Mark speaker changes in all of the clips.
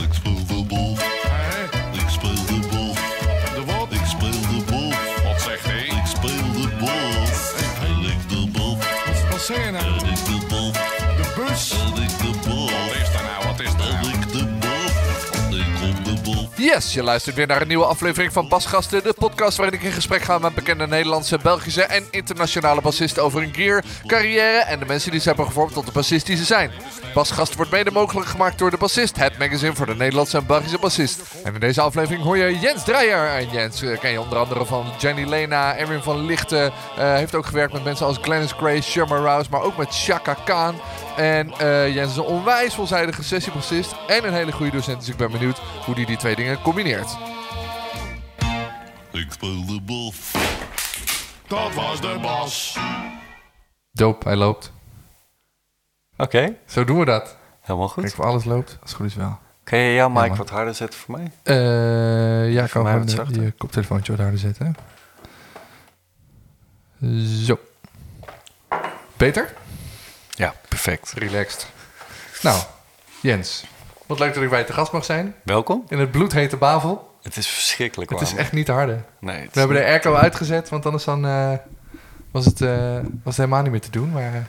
Speaker 1: Ik speel de boef,
Speaker 2: Hé,
Speaker 1: ik speel de boef,
Speaker 2: de wat?
Speaker 1: ik speel de boef,
Speaker 2: Wat zegt hij?
Speaker 1: ik speel de boef. En ik de boef,
Speaker 2: Wat, wat zeg je nou?
Speaker 1: en ik de boef,
Speaker 2: De bus?
Speaker 1: en ik de
Speaker 2: Wat
Speaker 1: boef,
Speaker 2: is dat nou? Wat is dat
Speaker 1: en
Speaker 2: nou?
Speaker 1: ik de boef. Ik kom de boef.
Speaker 3: Yes, je luistert weer naar een nieuwe aflevering van Basgasten, de podcast waarin ik in gesprek ga met bekende Nederlandse, Belgische en internationale bassisten over hun gear, carrière en de mensen die ze hebben gevormd tot de bassist die ze zijn. Basgast wordt mede mogelijk gemaakt door De Bassist, het magazine voor de Nederlandse en Belgische bassist. En in deze aflevering hoor je Jens Dreyer. En Jens eh, ken je onder andere van Jenny Lena, Erwin van Lichten, eh, heeft ook gewerkt met mensen als Glennis Grace, Sherman Rouse, maar ook met Shaka Khan. En eh, Jens is een onwijs veelzijdige sessiebassist en een hele goede docent, dus ik ben benieuwd hoe hij die twee dingen combineert.
Speaker 1: Ik speel de bof.
Speaker 2: Dat was de bas.
Speaker 3: Doop, hij loopt.
Speaker 4: Oké,
Speaker 3: Zo doen we dat.
Speaker 4: helemaal goed.
Speaker 3: Kijk of alles loopt, als het goed is wel.
Speaker 4: Kun je jouw mic
Speaker 3: maar-
Speaker 4: wat harder zetten voor mij?
Speaker 3: Eh ja, ik kan
Speaker 4: Voor mij
Speaker 3: gewoon
Speaker 4: wat
Speaker 3: de-
Speaker 4: zachter.
Speaker 3: je koptelefoontje wat harder zetten. Zo. Beter?
Speaker 4: Ja, perfect.
Speaker 3: Relaxed. Nou, Jens. Wat leuk dat ik bij je te gast mag zijn.
Speaker 4: Welkom.
Speaker 3: In het bloedhete Bavel.
Speaker 4: Het is verschrikkelijk
Speaker 3: Het
Speaker 4: warm.
Speaker 3: is echt niet te harde.
Speaker 4: Nee, het
Speaker 3: We
Speaker 4: is
Speaker 3: hebben de
Speaker 4: niet-
Speaker 3: airco uitgezet, want anders dan, eh, was, het, eh, was het helemaal niet meer te doen. Maar eh,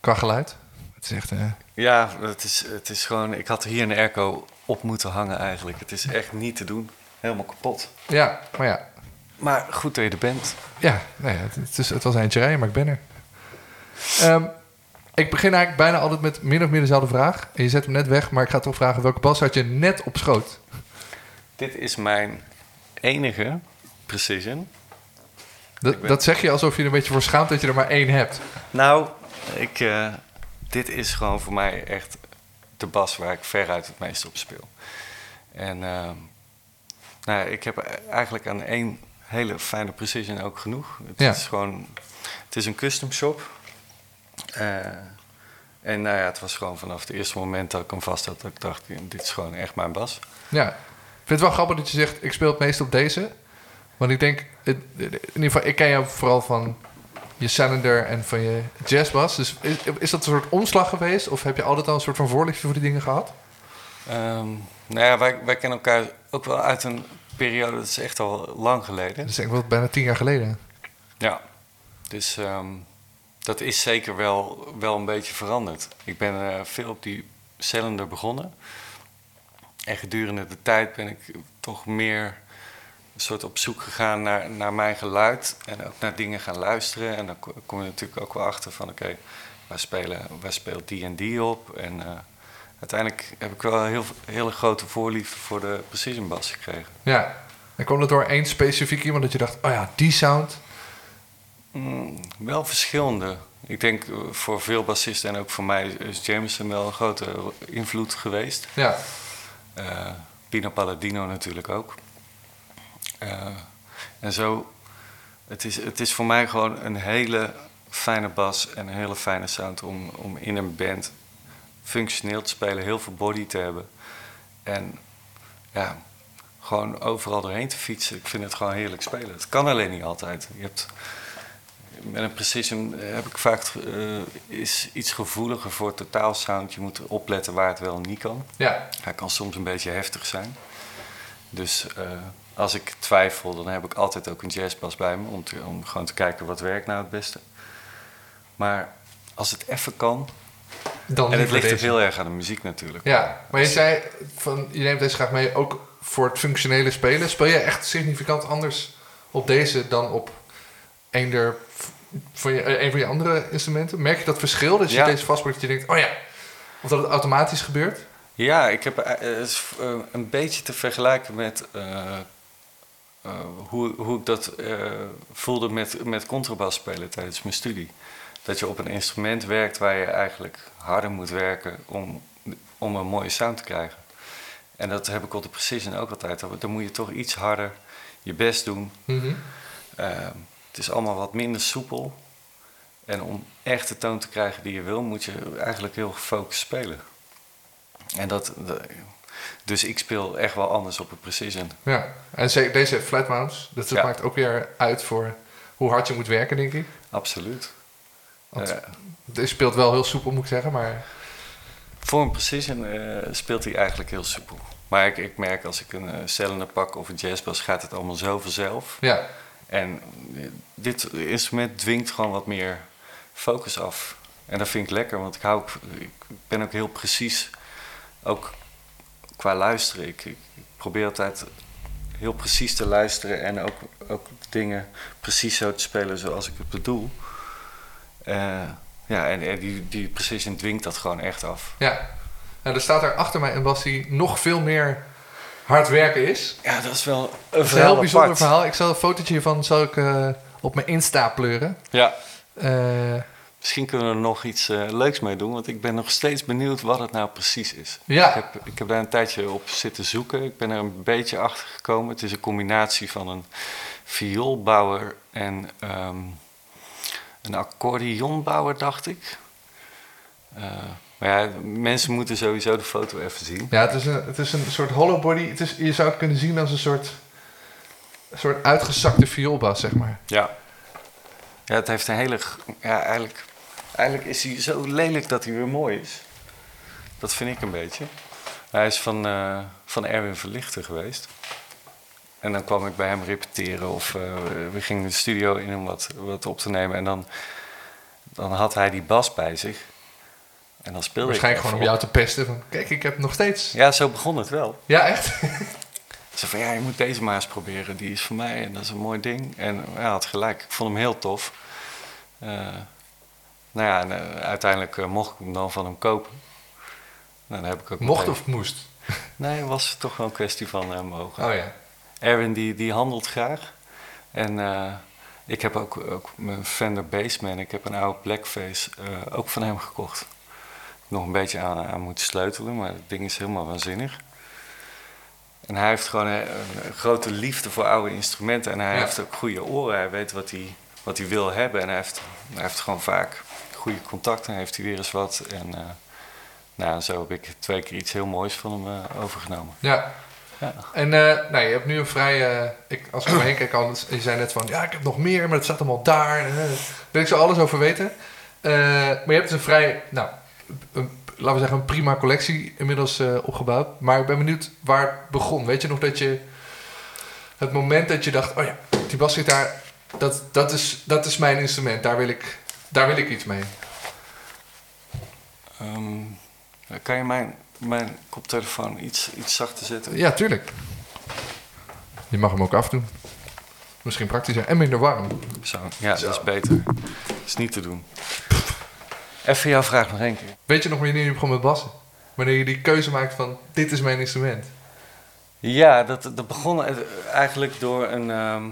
Speaker 3: qua geluid. Het is echt... eh,
Speaker 4: Ja, het is, het is gewoon... Ik had hier een airco op moeten hangen eigenlijk. Het is echt niet te doen. Helemaal kapot.
Speaker 3: ja, maar ja.
Speaker 4: Maar goed dat je er bent.
Speaker 3: Ja, nee, het, het is, het was eentje rijden, maar ik ben er. Ehm, ik begin eigenlijk bijna altijd met min of meer dezelfde vraag. En je zet hem net weg, maar ik ga toch vragen... welke bas had je net op schoot?
Speaker 4: Dit is mijn enige precision.
Speaker 3: Dat, dat zeg je alsof je er een beetje voor schaamt dat je er maar één hebt.
Speaker 4: Nou, ik, eh, dit is gewoon voor mij echt de bas waar ik veruit het meest op speel. En eh, nou, ja, ik heb eigenlijk aan één hele fijne precision ook genoeg. Het
Speaker 3: Ja.
Speaker 4: is gewoon, het is een custom shop. Eh, en nou ja, het was gewoon vanaf het eerste moment dat ik hem vast had, dat ik dacht, dit is gewoon echt mijn bas.
Speaker 3: Ja, ik vind het wel grappig dat je zegt... ik speel het meest op deze. Want ik denk... het- in ieder geval, ik ken jou vooral van je cylinder en van je jazzbas. Dus is, is dat een soort omslag geweest? Of heb je altijd al een soort van voorlichting voor die dingen gehad?
Speaker 4: Ehm, nou ja, wij, wij kennen elkaar ook wel uit een periode, dat is echt al lang geleden.
Speaker 3: Dat is denk ik wel bijna tien jaar geleden.
Speaker 4: Ja, dus ehm, dat is zeker wel, wel een beetje veranderd. Ik ben eh, veel op die cylinder begonnen. En gedurende de tijd ben ik toch meer een soort op zoek gegaan naar, naar mijn geluid. En ook naar dingen gaan luisteren. En dan ko- kom je natuurlijk ook wel achter van oké, waar, spelen, waar speelt die en die op? En eh, uiteindelijk heb ik wel een heel, hele grote voorliefde voor de precision bass gekregen.
Speaker 3: Ja. En kwam dat door één specifiek iemand dat je dacht, oh ja, die sound.
Speaker 4: Mm, wel verschillende. Ik denk eh, voor veel bassisten en ook voor mij is Jameson wel een grote invloed geweest.
Speaker 3: Ja.
Speaker 4: Eh, Pino Palladino natuurlijk ook. Eh, en zo, het is, het is voor mij gewoon een hele fijne bas en een hele fijne sound om, om in een band functioneel te spelen, heel veel body te hebben. En ja, gewoon overal doorheen te fietsen. Ik vind het gewoon heerlijk spelen. Het kan alleen niet altijd. Je hebt, met een precision eh, heb ik vaak het ge- eh, is iets gevoeliger voor totaalsound. Je moet opletten waar het wel en niet kan.
Speaker 3: Ja.
Speaker 4: Hij kan soms een beetje heftig zijn. Dus eh, als ik twijfel, dan heb ik altijd ook een jazzbas bij me. Om, te- om gewoon te kijken wat werkt nou het beste. Maar als het even kan.
Speaker 3: Dan
Speaker 4: En het
Speaker 3: liever
Speaker 4: ligt er
Speaker 3: deze.
Speaker 4: heel erg aan de muziek natuurlijk.
Speaker 3: Ja. Maar je zei, van, je neemt deze graag mee ook voor het functionele spelen. Speel je echt significant anders op deze dan op een, der, van, je, eh, een van je andere instrumenten? Merk je dat verschil? Dus je
Speaker 4: Ja.
Speaker 3: deze vastpakt dat je denkt, oh ja. Of dat het automatisch gebeurt?
Speaker 4: Ja, ik heb eh, eh, is, eh, een beetje te vergelijken met eh, eh, hoe, hoe ik dat eh, voelde met, met contrabas spelen tijdens mijn studie. Dat je op een instrument werkt waar je eigenlijk harder moet werken om, om een mooie sound te krijgen. En dat heb ik op de Precision ook altijd. Dan- Dan moet je toch iets harder je best doen.
Speaker 3: Mhm.
Speaker 4: Eh, het is allemaal wat minder soepel. En om echt de toon te krijgen die je wil, moet je eigenlijk heel gefocust spelen. En dat, dat- dus ik speel echt wel anders op een precision.
Speaker 3: Ja. En ze- deze flat mounts, dat
Speaker 4: Ja.
Speaker 3: maakt ook weer uit voor hoe hard je moet werken, denk ik.
Speaker 4: Absoluut.
Speaker 3: Want
Speaker 4: Eh,
Speaker 3: Deze speelt wel heel soepel, moet ik zeggen, maar...
Speaker 4: Voor een precision eh, speelt hij eigenlijk heel soepel. Maar ik, ik merk als ik een eh, cylinder pak of een jazzbas, gaat het allemaal zo vanzelf.
Speaker 3: Ja.
Speaker 4: En eh, dit instrument dwingt gewoon wat meer focus af. En dat vind ik lekker, want ik, hou, ik ben ook heel precies, ook qua luisteren. Ik, ik probeer altijd heel precies te luisteren en ook, ook dingen precies zo te spelen zoals ik het bedoel. Eh, ja, en, en die, die precision dwingt dat gewoon echt af.
Speaker 3: Ja. En er staat daar achter mij een bas die nog veel meer hard werken is.
Speaker 4: Ja, dat is wel een,
Speaker 3: Dat is een heel bijzonder verhaal. Ik zal een fotootje hiervan zal ik, eh, op mijn Insta pleuren.
Speaker 4: Ja.
Speaker 3: Eh,
Speaker 4: Misschien kunnen we er nog iets eh, leuks mee doen, want ik ben nog steeds benieuwd wat het nou precies is.
Speaker 3: Ja.
Speaker 4: Ik, heb, ik heb daar een tijdje op zitten zoeken. Ik ben er een beetje achter gekomen. Het is een combinatie van een vioolbouwer en ehm, een accordeonbouwer, dacht ik. Eh, maar ja, mensen moeten sowieso de foto even zien.
Speaker 3: ja, het is, een, het is een soort hollow body. Het is, je zou het kunnen zien als een soort, een soort uitgezakte vioolbas, zeg maar.
Speaker 4: Ja. Ja, het heeft een hele. g- Ja, eigenlijk, eigenlijk is hij zo lelijk dat hij weer mooi is. Dat vind ik een beetje. Hij is van, eh, van Erwin Verlichter geweest. En dan kwam ik bij hem repeteren of eh, we gingen de studio in om wat, wat op te nemen. En dan, dan had hij die bas bij zich. En dan speelde
Speaker 3: Waarschijnlijk
Speaker 4: ik
Speaker 3: gewoon om jou te pesten. Van, kijk, ik heb nog steeds.
Speaker 4: Ja, zo begon het wel.
Speaker 3: Ja, echt?
Speaker 4: Ze van ja, je moet deze maar eens proberen. Die is voor mij en dat is een mooi ding. En hij had gelijk. Ik vond hem heel tof. Eh, nou ja, en, eh, uiteindelijk eh, mocht ik hem dan van hem kopen. Nou, dan heb ik ook
Speaker 3: Mocht
Speaker 4: meteen-
Speaker 3: of moest?
Speaker 4: Nee, was het toch wel een kwestie van eh, mogen.
Speaker 3: Oh ja.
Speaker 4: Erwin die, die handelt graag. En eh, ik heb ook, ook mijn Fender Bassman, ik heb een oude Blackface eh, ook van hem gekocht. Nog een beetje aan, aan moeten sleutelen, maar het ding is helemaal waanzinnig. En hij heeft gewoon een, een grote liefde voor oude instrumenten. En hij
Speaker 3: Ja.
Speaker 4: heeft ook goede oren. Hij weet wat hij, wat hij wil hebben. En hij heeft, hij heeft gewoon vaak goede contacten. Heeft hij weer eens wat. En eh, nou, zo heb ik twee keer iets heel moois van hem eh, overgenomen.
Speaker 3: Ja.
Speaker 4: Ja.
Speaker 3: En eh, nou, je hebt nu een vrij... eh, ik, als ik om me heen kijk, al, je zei net van... Ja, ik heb nog meer, maar het staat allemaal daar. Eh, Daar wil ik zo alles over weten. Eh, maar je hebt dus een vrij... Nou, een, laten we zeggen een prima collectie inmiddels eh, opgebouwd. Maar ik ben benieuwd waar het begon. Weet je nog dat je... Het moment dat je dacht... Oh ja, die basgitaar, dat, dat, is, dat is mijn instrument. Daar wil ik, daar wil ik iets mee.
Speaker 4: Ehm, kan je mijn, mijn koptelefoon iets, iets zachter zetten?
Speaker 3: Ja, tuurlijk. Je mag hem ook afdoen. Misschien praktischer en minder warm.
Speaker 4: Zo, ja, dat is beter. Dat is niet te doen. Even jouw vraag nog één keer.
Speaker 3: Weet je nog wanneer je begon met bassen? Wanneer je die keuze maakt van dit is mijn instrument.
Speaker 4: Ja, dat, dat begon e- eigenlijk door een, ehm,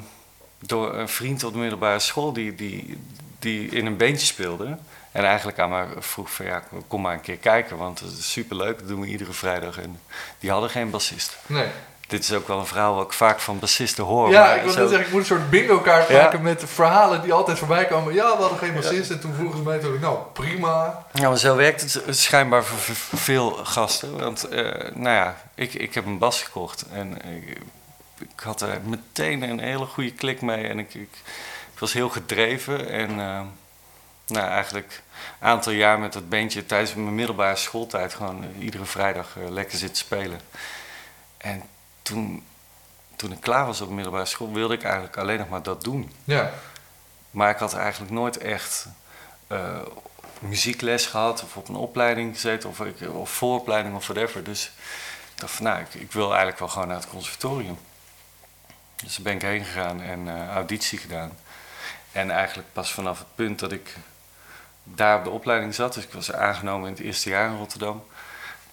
Speaker 4: door een vriend op de middelbare school die, die, die in een bandje speelde. En eigenlijk aan mij vroeg van ja, kom maar een keer kijken, want het is superleuk, dat doen we iedere vrijdag. En die hadden geen bassist.
Speaker 3: Nee.
Speaker 4: Dit is ook wel een verhaal wat ik vaak van bassisten hoor.
Speaker 3: ja,
Speaker 4: Oh, maar
Speaker 3: ik wil
Speaker 4: zo-
Speaker 3: net zeggen, ik moet een soort bingo kaart
Speaker 4: Ja.
Speaker 3: maken met verhalen die altijd voorbij komen. Ja, we hadden geen bassist en toen vroegen ze mij toen, nou prima.
Speaker 4: Ja, maar zo werkt het schijnbaar voor v- voor veel gasten. Want eh, nou ja, ik, ik heb een bas gekocht en ik, ik had er meteen een hele goede klik mee. En ik, ik, ik was heel gedreven en eh, nou, eigenlijk een aantal jaar met dat bandje tijdens mijn middelbare schooltijd gewoon eh, iedere vrijdag eh, lekker zitten spelen. En toen, toen ik klaar was op middelbare school wilde ik eigenlijk alleen nog maar dat doen.
Speaker 3: Ja,
Speaker 4: Maar ik had eigenlijk nooit echt eh, muziekles gehad of op een opleiding gezeten of, ik, of vooropleiding of whatever. Dus ik dacht van nou, ik, ik wil eigenlijk wel gewoon naar het conservatorium. Dus daar ben ik heen gegaan en eh, auditie gedaan. En eigenlijk pas vanaf het punt dat ik daar op de opleiding zat, dus ik was aangenomen in het eerste jaar in Rotterdam.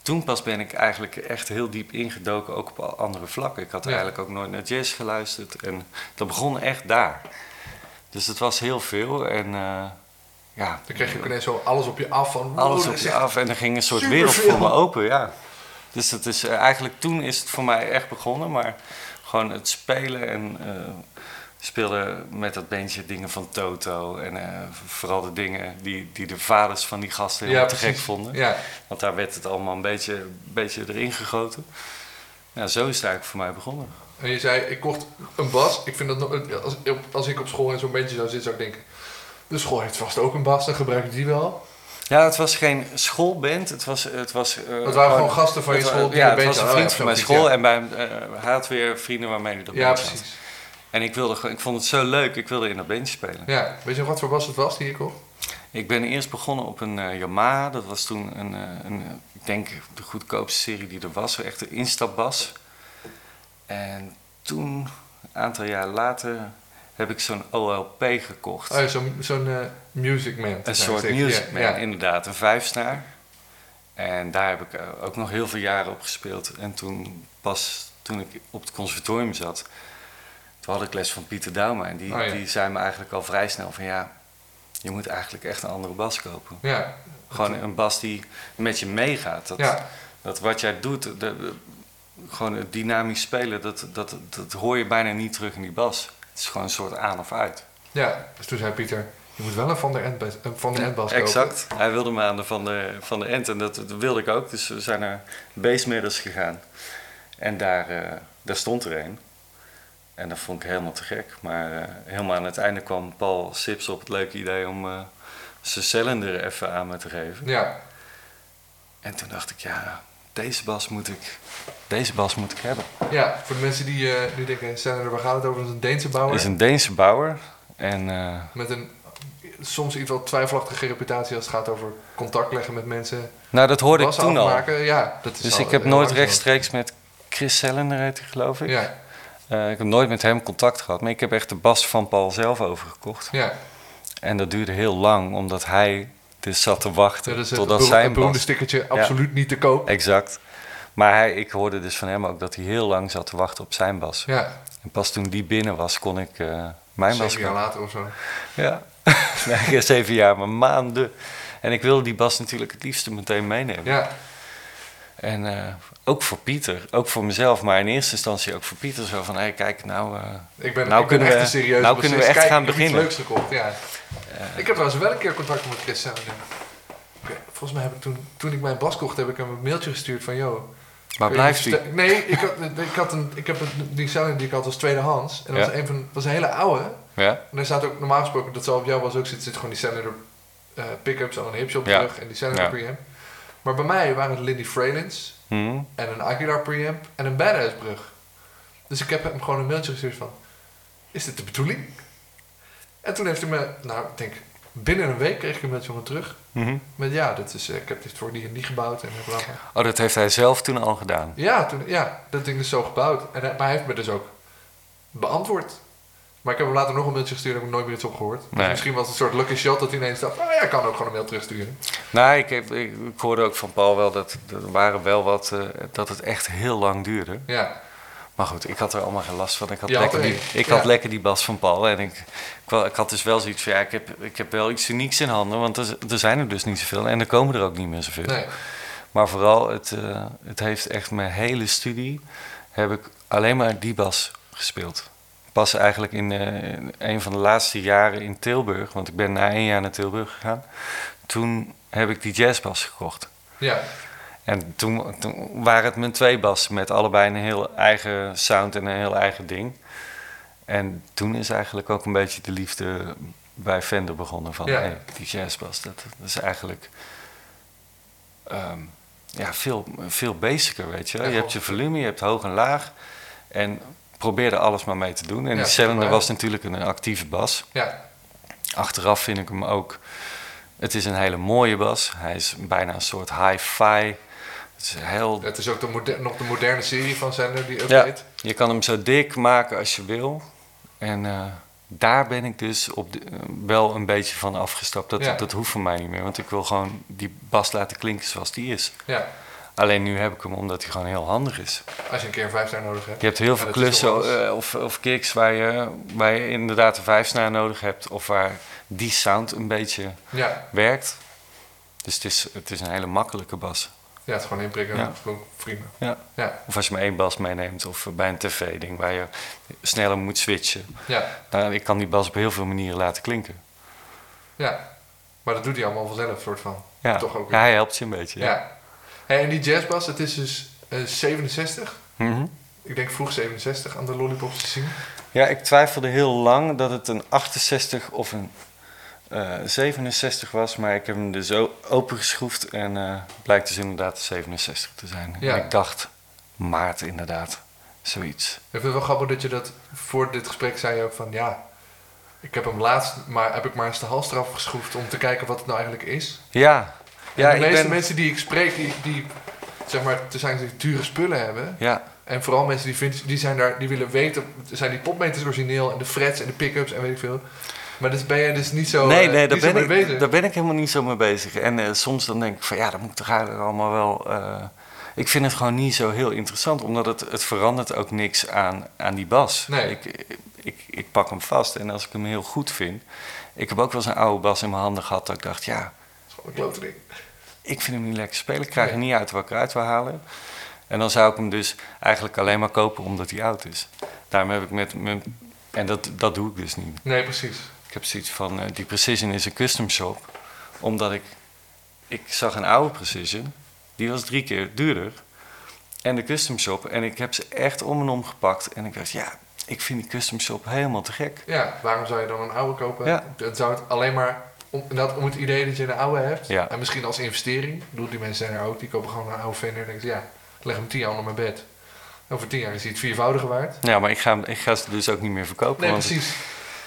Speaker 4: Toen pas ben ik eigenlijk echt heel diep ingedoken, ook op al andere vlakken. Ik had
Speaker 3: Ja.
Speaker 4: eigenlijk ook nooit naar jazz geluisterd en dat begon echt daar. Dus het was heel veel en eh, ja.
Speaker 3: dan kreeg je ook ineens zo alles op je af van... wow,
Speaker 4: Alles
Speaker 3: dat
Speaker 4: op
Speaker 3: is
Speaker 4: je
Speaker 3: echt-
Speaker 4: af en er ging een soort
Speaker 3: superveel.
Speaker 4: wereld voor me open, ja. Dus dat is, eh, eigenlijk toen is het voor mij echt begonnen, maar gewoon het spelen en eh speelde met dat bandje dingen van Toto en eh, vooral de dingen die, die de vaders van die gasten heel te gek
Speaker 3: precies.
Speaker 4: vonden.
Speaker 3: Ja,
Speaker 4: Want daar werd het allemaal een beetje, een beetje erin gegoten. Nou, zo is het eigenlijk voor mij begonnen.
Speaker 3: en je zei, ik kocht een bas. Ik vind dat nog, als, als ik op school in zo'n bandje zou zitten, zou ik denken... De school heeft vast ook een bas, dan gebruik ik die wel.
Speaker 4: Ja, het was geen schoolband. Het, was, het, was, eh,
Speaker 3: Het waren gewoon gasten van je
Speaker 4: het wa-
Speaker 3: school die
Speaker 4: Ja,
Speaker 3: een
Speaker 4: het
Speaker 3: beetje oh
Speaker 4: was een vriend van mijn
Speaker 3: aanleiding
Speaker 4: school.
Speaker 3: had,
Speaker 4: En bij, hem, eh, hij had weer vrienden waarmee hij dat
Speaker 3: Ja,
Speaker 4: bandje had.
Speaker 3: precies.
Speaker 4: En ik, wilde, gewoon- ik vond het zo leuk. Ik wilde in dat bandje spelen.
Speaker 3: Ja, weet je nog wat voor bas het was die je kocht?
Speaker 4: Ik ben eerst begonnen op een eh, Yamaha. Dat was toen een, eh, een, eh, ik denk de goedkoopste serie die er was. Echt een instapbas. En toen, een aantal jaar later, heb ik zo'n OLP gekocht.
Speaker 3: Oh, ja, zo'n zo'n eh, Music Man.
Speaker 4: Een soort
Speaker 3: Ja,
Speaker 4: music man,
Speaker 3: ja.
Speaker 4: inderdaad. Een vijfsnaar. En daar heb ik eh, ook nog heel veel jaren op gespeeld. En toen pas, toen ik op het conservatorium zat, toen had ik les van Pieter Dauma. En die,
Speaker 3: Oh ja.
Speaker 4: die zei me eigenlijk al vrij snel van ja, je moet eigenlijk echt een andere bas kopen.
Speaker 3: Ja,
Speaker 4: Gewoon een bas die met je meegaat. Dat,
Speaker 3: ja.
Speaker 4: dat wat jij doet, de, de- gewoon het dynamisch spelen, dat, dat, dat hoor je bijna niet terug in die bas. Het is gewoon een soort aan of uit.
Speaker 3: ja. Dus toen zei Pieter, je moet wel een Van der End, bas- een van der End bas kopen.
Speaker 4: Exact. Hij wilde me aan de van de, van de Ent en dat, dat wilde ik ook. Dus we zijn naar Basemedders gegaan. En daar, eh, daar stond er een. En dat vond ik helemaal te gek. Maar eh, helemaal aan het einde kwam Paul Sips op het leuke idee om eh, zijn cylinder even aan me te geven.
Speaker 3: Ja,
Speaker 4: En toen dacht ik, ja, deze bas moet ik, deze bas moet ik
Speaker 3: Oh,
Speaker 4: hebben.
Speaker 3: ja. Voor de mensen die eh, nu denken, zijn er, waar gaat het over? Dat is een Deense bouwer.
Speaker 4: Het is een Deense bouwer. En eh,
Speaker 3: Met een soms iets wat twijfelachtige reputatie als het gaat over contact leggen met mensen.
Speaker 4: nou, dat hoorde ik
Speaker 3: Bassen
Speaker 4: toen al.
Speaker 3: afmaken. Ja, dat is
Speaker 4: Dus
Speaker 3: al
Speaker 4: ik heb
Speaker 3: heel
Speaker 4: nooit
Speaker 3: lang zo.
Speaker 4: rechtstreeks met Chris Cylinder, heet hij geloof ik.
Speaker 3: Ja,
Speaker 4: Eh, ik heb nooit met hem contact gehad, maar ik heb echt de bas van Paul zelf overgekocht.
Speaker 3: ja.
Speaker 4: En dat duurde heel lang, omdat hij dus zat te wachten
Speaker 3: Dat is het
Speaker 4: totdat
Speaker 3: beroemde,
Speaker 4: zijn
Speaker 3: beroemde
Speaker 4: bas...
Speaker 3: stickertje absoluut niet te koop.
Speaker 4: Exact. Maar hij, ik hoorde dus van hem ook dat hij heel lang zat te wachten op zijn bas.
Speaker 3: Ja,
Speaker 4: En pas toen die binnen was, kon ik eh, mijn bas
Speaker 3: zeven jaar later of zo.
Speaker 4: Ja, nee, geen zeven jaar, maar maanden. En ik wilde die bas natuurlijk het liefste meteen meenemen.
Speaker 3: Ja,
Speaker 4: En eh, ook voor Pieter, ook voor mezelf, maar in eerste instantie ook voor Pieter. Zo van, hé, kijk, nou... eh,
Speaker 3: ik ben,
Speaker 4: Nou
Speaker 3: ik ben
Speaker 4: kunnen
Speaker 3: echt
Speaker 4: we-
Speaker 3: een serieuze
Speaker 4: nou kunnen we
Speaker 3: bassist.
Speaker 4: echt
Speaker 3: Kijk,
Speaker 4: gaan
Speaker 3: ik heb iets
Speaker 4: beginnen. Eh.
Speaker 3: leuks gekocht, ja. ik heb trouwens wel een keer contact met Chris Sandler. Ik weet- Volgens mij heb ik toen, toen ik mijn bas kocht, heb ik hem een mailtje gestuurd van, joh,
Speaker 4: waar blijft
Speaker 3: Kun je
Speaker 4: hij?
Speaker 3: verste- Nee, ik had, ik had een, ik heb een, die Sally die ik had was tweedehands. En dat
Speaker 4: Ja.
Speaker 3: was, een van, was een hele oude.
Speaker 4: Ja?
Speaker 3: En daar staat ook normaal gesproken, dat zal op jou was ook zitten, zit gewoon die Senator eh pick-ups aan een hipshop op
Speaker 4: Ja.
Speaker 3: terug en die Senator
Speaker 4: Ja.
Speaker 3: preamp. Maar bij mij waren het Lindy Fralins
Speaker 4: Hm?
Speaker 3: en een Aguilar preamp en een Badass brug. Dus ik heb hem gewoon een mailtje gestuurd van, is dit de bedoeling? En toen heeft hij me, nou ik denk, binnen een week kreeg ik een mailtje van hem terug.
Speaker 4: Mhm.
Speaker 3: Met ja, dat is, eh, ik heb dit voor die en die gebouwd en bla bla.
Speaker 4: Oh, dat heeft hij zelf toen al gedaan.
Speaker 3: Ja, toen, ja, dat ding is zo gebouwd. En, hij- maar hij heeft me dus ook beantwoord. Maar ik heb hem later nog een mailtje gestuurd en heb ik nooit meer iets opgehoord. Dus
Speaker 4: Nee.
Speaker 3: misschien was het een soort lucky shot dat hij ineens dacht... Oh ja, ik kan ook gewoon een mail terugsturen.
Speaker 4: Nou, ik, heb, ik, ik hoorde ook van Paul wel dat er waren wel wat, eh, dat het echt heel lang duurde.
Speaker 3: Ja,
Speaker 4: Maar goed, ik had er allemaal geen last van. Ik had,
Speaker 3: Je had
Speaker 4: lekker,
Speaker 3: er
Speaker 4: die,
Speaker 3: één.
Speaker 4: ik
Speaker 3: Ja.
Speaker 4: had lekker die bas van Paul. En ik, ik, wa- ik had dus wel zoiets van, ja, ik heb, ik heb wel iets unieks in handen. Want er, er zijn er dus niet zoveel. En er komen er ook niet meer zoveel.
Speaker 3: nee.
Speaker 4: Maar vooral, het, eh, het heeft echt mijn hele studie... heb ik alleen maar die bas gespeeld. Pas eigenlijk in, eh, in een van de laatste jaren in Tilburg... want ik ben na één jaar naar Tilburg gegaan. Toen heb ik die jazzbas gekocht.
Speaker 3: Ja,
Speaker 4: En toen, toen waren het mijn twee bassen met allebei een heel eigen sound en een heel eigen ding. En toen is eigenlijk ook een beetje de liefde bij Fender begonnen van
Speaker 3: Ja.
Speaker 4: hey, die jazzbas. Dat, dat is eigenlijk ehm, ja, veel, veel basicer, weet je. wel. Je
Speaker 3: Ja,
Speaker 4: hebt je volume, je hebt hoog en laag. En probeer er alles maar mee te doen. En
Speaker 3: Ja,
Speaker 4: die cylinder
Speaker 3: maar-
Speaker 4: was natuurlijk een actieve bas.
Speaker 3: ja,
Speaker 4: Achteraf vind ik hem ook. Het is een hele mooie bas. Hij is bijna een soort hi-fi. Het is heel.
Speaker 3: het is ook de moder- nog de moderne serie van Sander, die
Speaker 4: Ja,
Speaker 3: update.
Speaker 4: je kan hem zo dik maken als je wil. En eh, daar ben ik dus op de- eh, wel een beetje van afgestapt. Dat,
Speaker 3: Ja.
Speaker 4: dat hoeft voor mij niet meer. Want ik wil gewoon die bas laten klinken zoals die is.
Speaker 3: Ja.
Speaker 4: Alleen nu heb ik hem omdat hij gewoon heel handig is.
Speaker 3: als je een keer een vijfster nodig hebt.
Speaker 4: Je hebt heel
Speaker 3: Ja,
Speaker 4: veel
Speaker 3: dat is wel
Speaker 4: klussen
Speaker 3: alles.
Speaker 4: eh, of, of kicks waar je, waar je inderdaad een vijfsnaar nodig hebt. Of waar die sound een beetje
Speaker 3: Ja,
Speaker 4: werkt. Dus het is, het is een hele makkelijke bas.
Speaker 3: ja het is gewoon inprikken.
Speaker 4: Ja.
Speaker 3: klonk Prima.
Speaker 4: Ja.
Speaker 3: Ja,
Speaker 4: Of als je maar één bas meeneemt of bij een tv-ding waar je sneller moet switchen.
Speaker 3: ja,
Speaker 4: Nou, ik kan die bas op heel veel manieren laten klinken.
Speaker 3: ja. Maar dat doet hij allemaal vanzelf, soort van.
Speaker 4: Ja,
Speaker 3: Toch ook.
Speaker 4: ja hij helpt je een beetje.
Speaker 3: Ja.
Speaker 4: Ja.
Speaker 3: Hey, en die jazzbas, het is dus eh, 67.
Speaker 4: Mhm.
Speaker 3: Ik denk vroeg 67 aan de lollipops te zien.
Speaker 4: ja, ik twijfelde heel lang dat het een 68 of een, eh, 67 was, maar ik heb hem dus o- opengeschroefd en eh, blijkt dus inderdaad 67 te zijn.
Speaker 3: Ja.
Speaker 4: Ik dacht, maart inderdaad, zoiets.
Speaker 3: Ik vind het wel grappig dat je dat voor dit gesprek zei je ook van ja, ik heb hem laatst maar heb ik maar eens de hals eraf geschroefd om te kijken wat het nou eigenlijk is.
Speaker 4: Ja, ja,
Speaker 3: en de
Speaker 4: ik
Speaker 3: meeste
Speaker 4: ben...
Speaker 3: mensen die ik spreek, die, die zeg maar te zijn die dure spullen hebben.
Speaker 4: Ja,
Speaker 3: En vooral mensen die, vintage, die zijn daar, die willen weten, zijn die popmeters origineel en de frets en de pick-ups en weet ik veel. Maar dus ben jij dus niet zo.
Speaker 4: nee,
Speaker 3: eh,
Speaker 4: nee,
Speaker 3: niet
Speaker 4: daar
Speaker 3: zo
Speaker 4: ben,
Speaker 3: mee bezig.
Speaker 4: ik, daar ben ik helemaal niet zo mee bezig. En eh, soms dan denk ik van ja, dat moet toch eigenlijk allemaal wel. eh, ik vind het gewoon niet zo heel interessant, omdat het, het verandert ook niks aan, aan die bas.
Speaker 3: Nee.
Speaker 4: Ik, ik, ik pak hem vast en als ik hem heel goed vind. Ik heb ook wel eens een oude bas in mijn handen gehad dat ik dacht, ja,
Speaker 3: Dat is gewoon een klote ding.
Speaker 4: ik vind hem niet lekker spelen. Ik krijg er niet uit wat ik eruit wil halen. En dan zou ik hem dus eigenlijk alleen maar kopen omdat hij oud is. Daarom heb ik met. met en dat, dat doe ik dus niet.
Speaker 3: Nee, precies.
Speaker 4: Ik heb zoiets van, eh, die Precision is een custom shop. Omdat ik, ik zag een oude Precision, die was drie keer duurder. En de custom shop, en ik heb ze echt om en om gepakt. En ik dacht, ja, ik vind die custom shop helemaal te gek.
Speaker 3: Ja, waarom zou je dan een oude kopen?
Speaker 4: Ja.
Speaker 3: Dan zou het alleen maar om, dat, om het idee dat je een oude hebt.
Speaker 4: Ja.
Speaker 3: En misschien als investering. Ik bedoel, die mensen zijn er ook. Die kopen gewoon een oude Fender en denken, ja, ik leg hem tien jaar onder mijn bed. Over tien jaar is hij het viervoudige waard.
Speaker 4: Ja, maar ik ga, hem- ik ga ze dus ook niet meer verkopen.
Speaker 3: Nee,
Speaker 4: want-
Speaker 3: precies.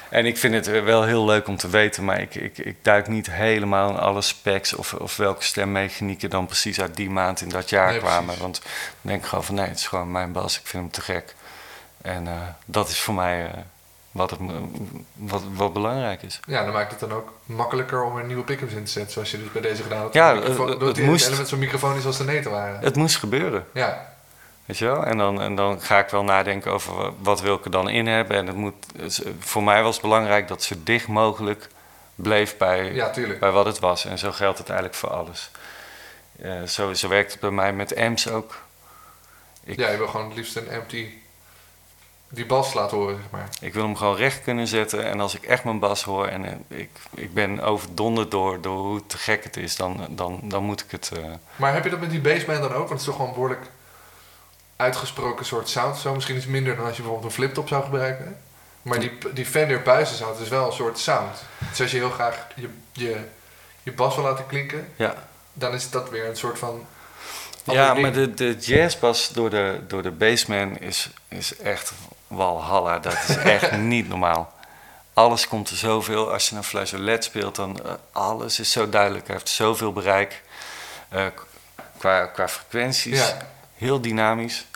Speaker 4: En ik vind het eh, wel heel leuk om te weten, maar ik, ik, ik duik niet helemaal in alle specs of, of welke stemmechanieken dan precies uit die maand in dat jaar
Speaker 3: Nee,
Speaker 4: kwamen.
Speaker 3: precies.
Speaker 4: Want dan denk ik gewoon van nee, het is gewoon mijn bas, ik vind hem te gek. En eh, dat is voor mij eh, wat, het, me- wat, wat belangrijk is.
Speaker 3: Ja, dan maakt het dan ook makkelijker om er nieuwe pick-ups in te zetten. Zoals je dus bij deze gedaan had.
Speaker 4: Ja,
Speaker 3: Een microfoon-
Speaker 4: het- het-
Speaker 3: dat
Speaker 4: het
Speaker 3: die
Speaker 4: moest.
Speaker 3: element zo'n microfoon is als de neten waren.
Speaker 4: Het moest gebeuren,
Speaker 3: Ja,
Speaker 4: weet je wel. En dan, en dan ga ik wel nadenken over wa- wat wil ik er dan in hebben. En het moet, het is- eh, voor mij was het belangrijk dat zo dicht mogelijk bleef bij,
Speaker 3: ja, tuurlijk.
Speaker 4: bij wat het was. En zo geldt het eigenlijk voor alles. Eh, zo, zo werkt het bij mij met amps ook. Ik,
Speaker 3: Ja, je wil gewoon het liefst een empty die bas laten horen, zeg maar.
Speaker 4: ik wil hem gewoon recht kunnen zetten. En als ik echt mijn bas hoor en eh, ik, ik ben overdonderd door, door hoe te gek het is, dan, dan, dan moet ik het. eh,
Speaker 3: Maar heb je dat met die bassband dan ook? Want het is toch gewoon een behoorlijk uitgesproken soort sound. Zo misschien iets minder dan als je bijvoorbeeld een fliptop zou gebruiken. Maar die, die Fender buizen sound is wel een soort sound. Dus als je heel graag je, je, je bas wil laten klinken,
Speaker 4: ja.
Speaker 3: dan is dat weer een soort van... ander
Speaker 4: ja,
Speaker 3: ding.
Speaker 4: maar de, de jazzbas door de, door de bassman is, is echt walhalla. Dat is echt niet normaal. Alles komt er zoveel. Als je een flageolet speelt, dan eh, alles is zo duidelijk. Hij heeft zoveel bereik eh, k- qua, qua frequenties.
Speaker 3: Ja.
Speaker 4: Heel dynamisch.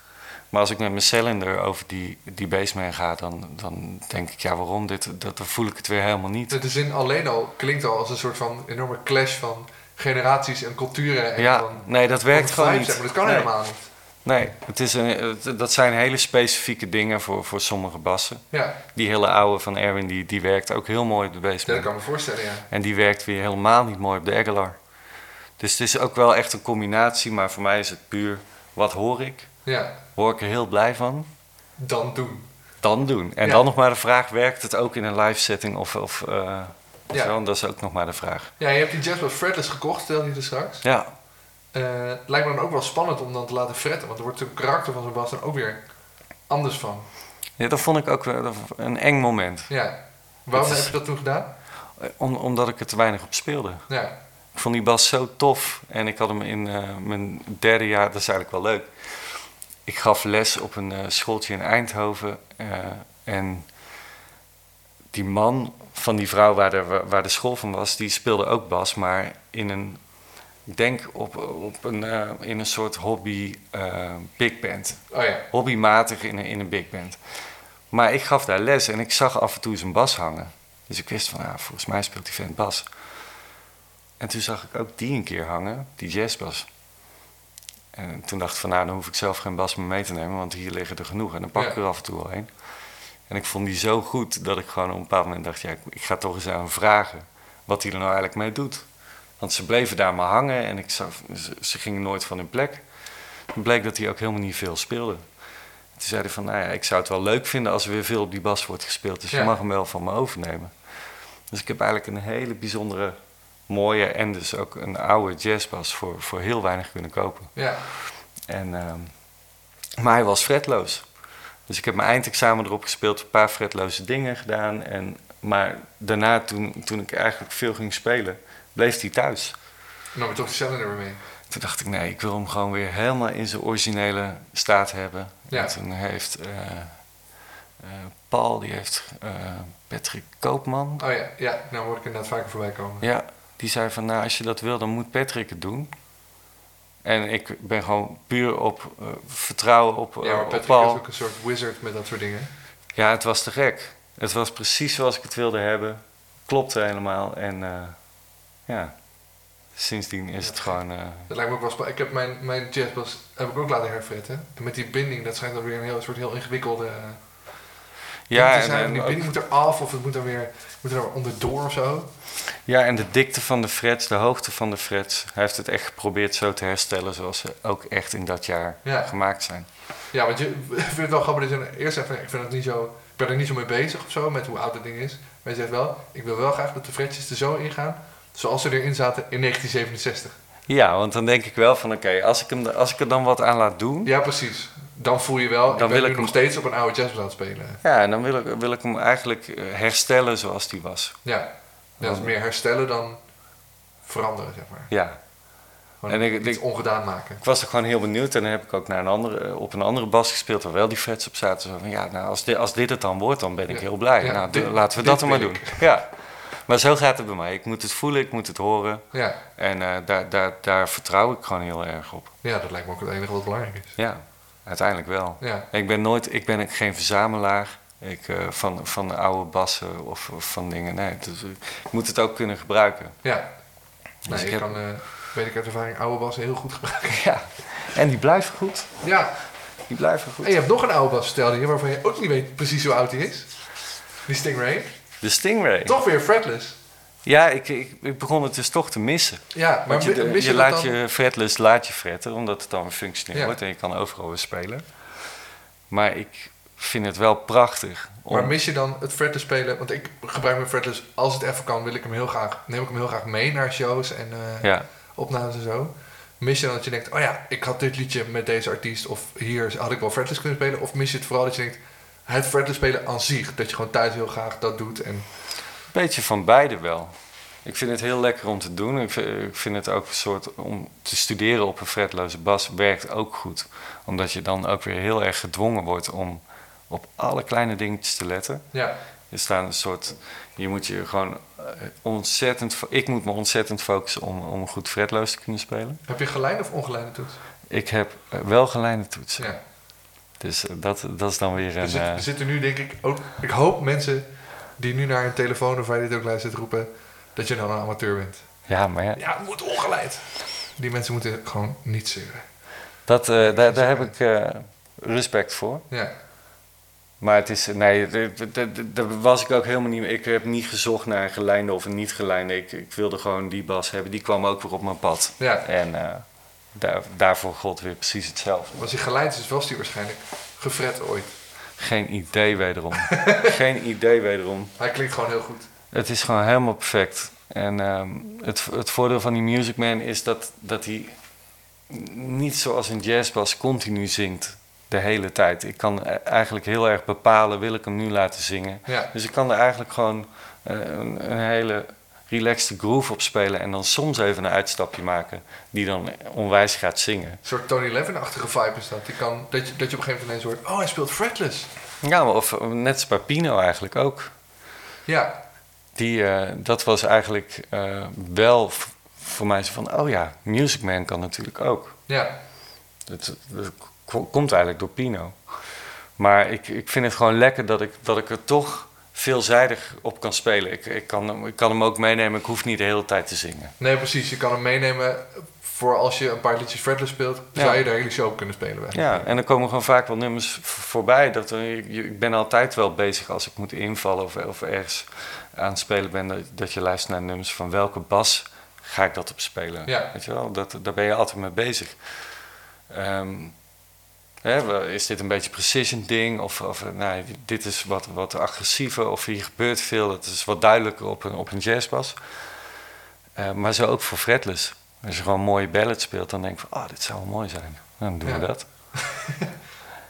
Speaker 4: Maar als ik met mijn cylinder over die, die bassman ga, dan, dan denk ik, ja, waarom? Dit, dat, dan voel ik het weer helemaal niet.
Speaker 3: De zin alleen al klinkt al als een soort van enorme clash van generaties en culturen. En
Speaker 4: Ja,
Speaker 3: van,
Speaker 4: nee, dat werkt
Speaker 3: van
Speaker 4: gewoon
Speaker 3: vibes,
Speaker 4: niet.
Speaker 3: zeg maar. Dat kan
Speaker 4: Nee.
Speaker 3: helemaal niet.
Speaker 4: Nee, het is een, het- dat zijn hele specifieke dingen voor, voor sommige bassen.
Speaker 3: Ja,
Speaker 4: Die hele oude van Erwin, die, die werkt ook heel mooi op de
Speaker 3: ja, dat
Speaker 4: basement.
Speaker 3: kan ik me voorstellen, ja.
Speaker 4: En die werkt weer helemaal niet mooi op de Aguilar. Dus het is ook wel echt een combinatie, maar voor mij is het puur... Wat hoor ik?
Speaker 3: Ja,
Speaker 4: Hoor ik er heel blij van?
Speaker 3: dan doen.
Speaker 4: Dan doen. En
Speaker 3: Ja.
Speaker 4: dan nog maar de vraag, werkt het ook in een live setting of... of eh, weet
Speaker 3: Ja.
Speaker 4: je wel, Dat is ook nog maar de vraag.
Speaker 3: Ja, je hebt die Jasper Fretless gekocht, stel je er straks.
Speaker 4: Ja,
Speaker 3: Eh, het lijkt me dan ook wel spannend om dan te laten fretten. Want er wordt het karakter van zo'n bas dan ook weer anders van.
Speaker 4: ja dat vond ik ook wel een eng moment.
Speaker 3: Ja. Waarom
Speaker 4: Het is-
Speaker 3: heb je dat toen gedaan?
Speaker 4: Eh, Om, omdat ik er te weinig op speelde.
Speaker 3: Ja.
Speaker 4: Ik vond die bas zo tof. En ik had hem in eh, mijn derde jaar, dat is eigenlijk wel leuk. Ik gaf les op een eh, schooltje in Eindhoven. eh, en die man van die vrouw waar de, waar de school van was, die speelde ook bas, maar in een. Ik denk op, op een, eh, in een soort hobby eh, big band
Speaker 3: Oh ja.
Speaker 4: hobbymatig in een, in een big band. Maar ik gaf daar les en ik zag af en toe zijn bas hangen. Dus ik wist van, ah, volgens mij speelt die vent bas. En toen zag ik ook die een keer hangen, die jazzbas. En toen dacht ik van, nou, dan hoef ik zelf geen bas meer mee te nemen, want hier liggen er genoeg. En dan pak ik
Speaker 3: Ja.
Speaker 4: er af en toe wel een. En ik vond die zo goed dat ik gewoon op een bepaald moment dacht, ja, ik, ik ga toch eens aan hem vragen wat hij er nou eigenlijk mee doet. Want ze bleven daar maar hangen en ik zag, ze, ze gingen nooit van hun plek. Toen bleek dat hij ook helemaal niet veel speelde. Toen zei hij van, nou ja, ik zou het wel leuk vinden als er weer veel op die bas wordt gespeeld. Dus
Speaker 3: Ja.
Speaker 4: je mag hem wel van me overnemen. Dus ik heb eigenlijk een hele bijzondere, mooie en dus ook een oude jazzbas voor, voor heel weinig kunnen kopen.
Speaker 3: Ja.
Speaker 4: En, ehm, maar hij was fretloos. Dus ik heb mijn eindexamen erop gespeeld, een paar fretloze dingen gedaan. En maar daarna, toen, toen ik eigenlijk veel ging spelen, bleef hij thuis.
Speaker 3: Nou, maar toch zelf er mee.
Speaker 4: Toen dacht ik, nee, ik wil hem gewoon weer helemaal in zijn originele staat hebben.
Speaker 3: Ja.
Speaker 4: En toen heeft eh, eh, Paul, die heeft eh, Patrick Koopman.
Speaker 3: Oh ja, ja, nou hoor ik inderdaad vaker voorbij komen.
Speaker 4: Ja, die zei van, nou, als je dat wil, dan moet Patrick het doen. En ik ben gewoon puur op eh, vertrouwen op, eh,
Speaker 3: Ja, maar
Speaker 4: op
Speaker 3: Patrick
Speaker 4: Paul.
Speaker 3: is ook een soort wizard met dat soort dingen.
Speaker 4: Ja, het was te gek. Het was precies zoals ik het wilde hebben. Klopte helemaal. En eh, ja, sindsdien is het gewoon... eh,
Speaker 3: Dat lijkt me ook wel spa- Ik heb mijn, mijn jazzbas heb ik ook laten herfritten. En met die binding, dat schijnt dan weer een heel, soort heel ingewikkelde... eh, ding
Speaker 4: ja,
Speaker 3: te
Speaker 4: en,
Speaker 3: zijn.
Speaker 4: en
Speaker 3: die
Speaker 4: ook-
Speaker 3: binding moet er af of het moet er weer moet er weer onderdoor of zo.
Speaker 4: ja, en de dikte van de frets, de hoogte van de frets. Hij heeft het echt geprobeerd zo te herstellen zoals ze ook echt in dat jaar
Speaker 3: Ja.
Speaker 4: gemaakt zijn.
Speaker 3: Ja, want je ik vind het wel grappig dat je dan eerst zegt van, ik vind het niet zo, ik ben er niet zo mee bezig of zo met hoe oud dat ding is. Maar je zegt wel, ik wil wel graag dat de fretjes er zo in gaan, zoals ze erin zaten in 1967.
Speaker 4: Ja, want dan denk ik wel van oké, als ik hem als ik er dan wat aan laat doen...
Speaker 3: Ja, precies. Dan voel je wel,
Speaker 4: Dan
Speaker 3: ik ben
Speaker 4: wil
Speaker 3: nu
Speaker 4: ik hem-
Speaker 3: nog steeds op een oude jazzband aan het spelen.
Speaker 4: Ja, en dan wil ik, wil ik hem eigenlijk eh, herstellen zoals die was.
Speaker 3: Ja. ja,
Speaker 4: Oh.
Speaker 3: dat is meer herstellen dan veranderen, zeg maar.
Speaker 4: Ja,
Speaker 3: Gewoon
Speaker 4: En ik-
Speaker 3: iets
Speaker 4: ik-
Speaker 3: ongedaan maken.
Speaker 4: Ik was er gewoon heel benieuwd en dan heb ik ook naar een andere, eh, op een andere bas gespeeld waar wel die frets op zaten. Zo van, ja, nou, als, dit, als dit het dan wordt, dan ben ik
Speaker 3: Ja.
Speaker 4: heel blij.
Speaker 3: Ja,
Speaker 4: nou,
Speaker 3: dit-
Speaker 4: d- laten we
Speaker 3: dit
Speaker 4: dat dan maar
Speaker 3: wil
Speaker 4: doen. Ja. Maar zo gaat het bij mij. Ik moet het voelen, ik moet het horen.
Speaker 3: Ja.
Speaker 4: En eh, daar, daar, daar vertrouw ik gewoon heel erg op.
Speaker 3: ja, dat lijkt me ook het enige wat belangrijk is.
Speaker 4: Ja, uiteindelijk wel.
Speaker 3: Ja.
Speaker 4: Ik ben nooit, ik ben geen verzamelaar ik, eh, van, van de oude bassen of, of van dingen. Nee, dus, eh, ik moet het ook kunnen gebruiken.
Speaker 3: Ja. Nee,
Speaker 4: ik
Speaker 3: ik
Speaker 4: heb-
Speaker 3: kan, eh, weet ik uit ervaring, oude bassen heel goed gebruiken.
Speaker 4: Ja. En die blijven goed.
Speaker 3: Ja,
Speaker 4: Die blijven goed.
Speaker 3: en je hebt nog een oude bas vertelde je, waarvan je ook niet weet precies hoe oud die is. Die Stingray.
Speaker 4: De Stingray.
Speaker 3: Toch weer fretless.
Speaker 4: Ja, ik, ik, ik begon het dus toch te missen.
Speaker 3: Ja, maar
Speaker 4: Want je,
Speaker 3: mi-
Speaker 4: je
Speaker 3: mis je, dat
Speaker 4: laat
Speaker 3: dan?
Speaker 4: je fretless laat je fretten, omdat het dan weer functioneel
Speaker 3: Ja.
Speaker 4: wordt en je kan overal weer spelen. Maar ik vind het wel prachtig. om-
Speaker 3: Maar mis je dan het fretless spelen? Want ik gebruik mijn fretless als het even kan, wil ik hem heel graag, neem ik hem heel graag mee naar shows en eh,
Speaker 4: ja.
Speaker 3: opnames en zo. Mis je dan dat je denkt, oh ja, ik had dit liedje met deze artiest of hier had ik wel fretless kunnen spelen? Of mis je het vooral dat je denkt, het fretless spelen aan zich, dat je gewoon thuis heel graag dat doet en
Speaker 4: Een beetje van beide wel. Ik vind het heel lekker om te doen. Ik vind, ik vind het ook een soort om te studeren op een fretloze bas werkt ook goed. Omdat je dan ook weer heel erg gedwongen wordt om op alle kleine dingetjes te letten.
Speaker 3: ja,
Speaker 4: Er staan een soort. Je moet je gewoon eh, ontzettend. fo- Ik moet me ontzettend focussen om, om goed fretloos te kunnen spelen.
Speaker 3: Heb je geleide of ongeleide toets?
Speaker 4: Ik heb eh, wel geleide toetsen.
Speaker 3: Ja. Dus
Speaker 4: Dus eh, dat, dat is dan weer
Speaker 3: Er,
Speaker 4: een.
Speaker 3: zit-
Speaker 4: eh,
Speaker 3: er zitten nu denk ik ook... Ik hoop mensen die nu naar hun telefoon of waar je dit ook luistert roepen... dat je dan een amateur bent.
Speaker 4: eh, ja, maar ja,
Speaker 3: Ja, het moet ongeleid. Die mensen moeten gewoon niet zeuren.
Speaker 4: dat, eh, daar, daar heb ik eh, respect voor.
Speaker 3: Ja,
Speaker 4: Maar het is. Nee, d- d- d- daar was ik ook helemaal niet. Ik heb niet gezocht naar een geleide of een niet geleide. Ik, ik wilde gewoon die bas hebben. Die kwam ook weer op mijn pad.
Speaker 3: ja.
Speaker 4: En eh, daar, daarvoor god weer precies hetzelfde.
Speaker 3: Als hij geleid is, was hij waarschijnlijk gefret ooit.
Speaker 4: Geen idee wederom. Geen idee wederom.
Speaker 3: Hij klinkt gewoon heel goed.
Speaker 4: Het is gewoon helemaal perfect. En ehm, het, het voordeel van die Music Man is dat, dat hij niet zoals een jazzbas continu zingt de hele tijd. Ik kan eh, eigenlijk heel erg bepalen, wil ik hem nu laten zingen?
Speaker 3: Ja,
Speaker 4: Dus ik kan er eigenlijk gewoon eh, een, een hele relaxed groove op spelen... en dan soms even een uitstapje maken die dan onwijs gaat zingen.
Speaker 3: een soort Tony Levin-achtige vibe is dat. Die kan, dat, je, dat je op een gegeven moment ineens hoort... Oh, hij speelt fretless.
Speaker 4: Ja, maar of eh, net als bij Pino eigenlijk ook.
Speaker 3: Ja,
Speaker 4: Die, eh, dat was eigenlijk eh, wel v- voor mij zo van, oh ja, Music Man kan natuurlijk ook.
Speaker 3: ja.
Speaker 4: Dat, dat ko- komt eigenlijk door Pino. Maar ik, ik vind het gewoon lekker dat ik, dat ik er toch veelzijdig op kan spelen. Ik, ik, kan, hem- ik kan hem ook meenemen, ik hoef niet de hele tijd te zingen.
Speaker 3: Nee, precies. Je kan hem meenemen voor als je een paar liedjes fretless speelt... zou je de hele show op kunnen spelen. bij.
Speaker 4: Ja, en er komen gewoon vaak wel nummers v- voorbij. Dat, er- je- je- ik ben altijd wel bezig als ik moet invallen of, of ergens aan het spelen ben... Dat, dat je luistert naar nummers van welke bas ga ik dat op spelen.
Speaker 3: Ja.
Speaker 4: Weet je wel, dat, daar ben je altijd mee bezig. Ehm, hè, wel, is dit een beetje precision ding? Of, of eh, nou, dit- dit is wat, wat agressiever of hier gebeurt veel. Dat is wat duidelijker op een, op een jazzbas. Eh, maar zo ook voor fretless. Als je gewoon een mooie ballad speelt, dan denk ik van... ah, dit zou wel mooi zijn. Nou, dan doen
Speaker 3: Ja.
Speaker 4: we dat.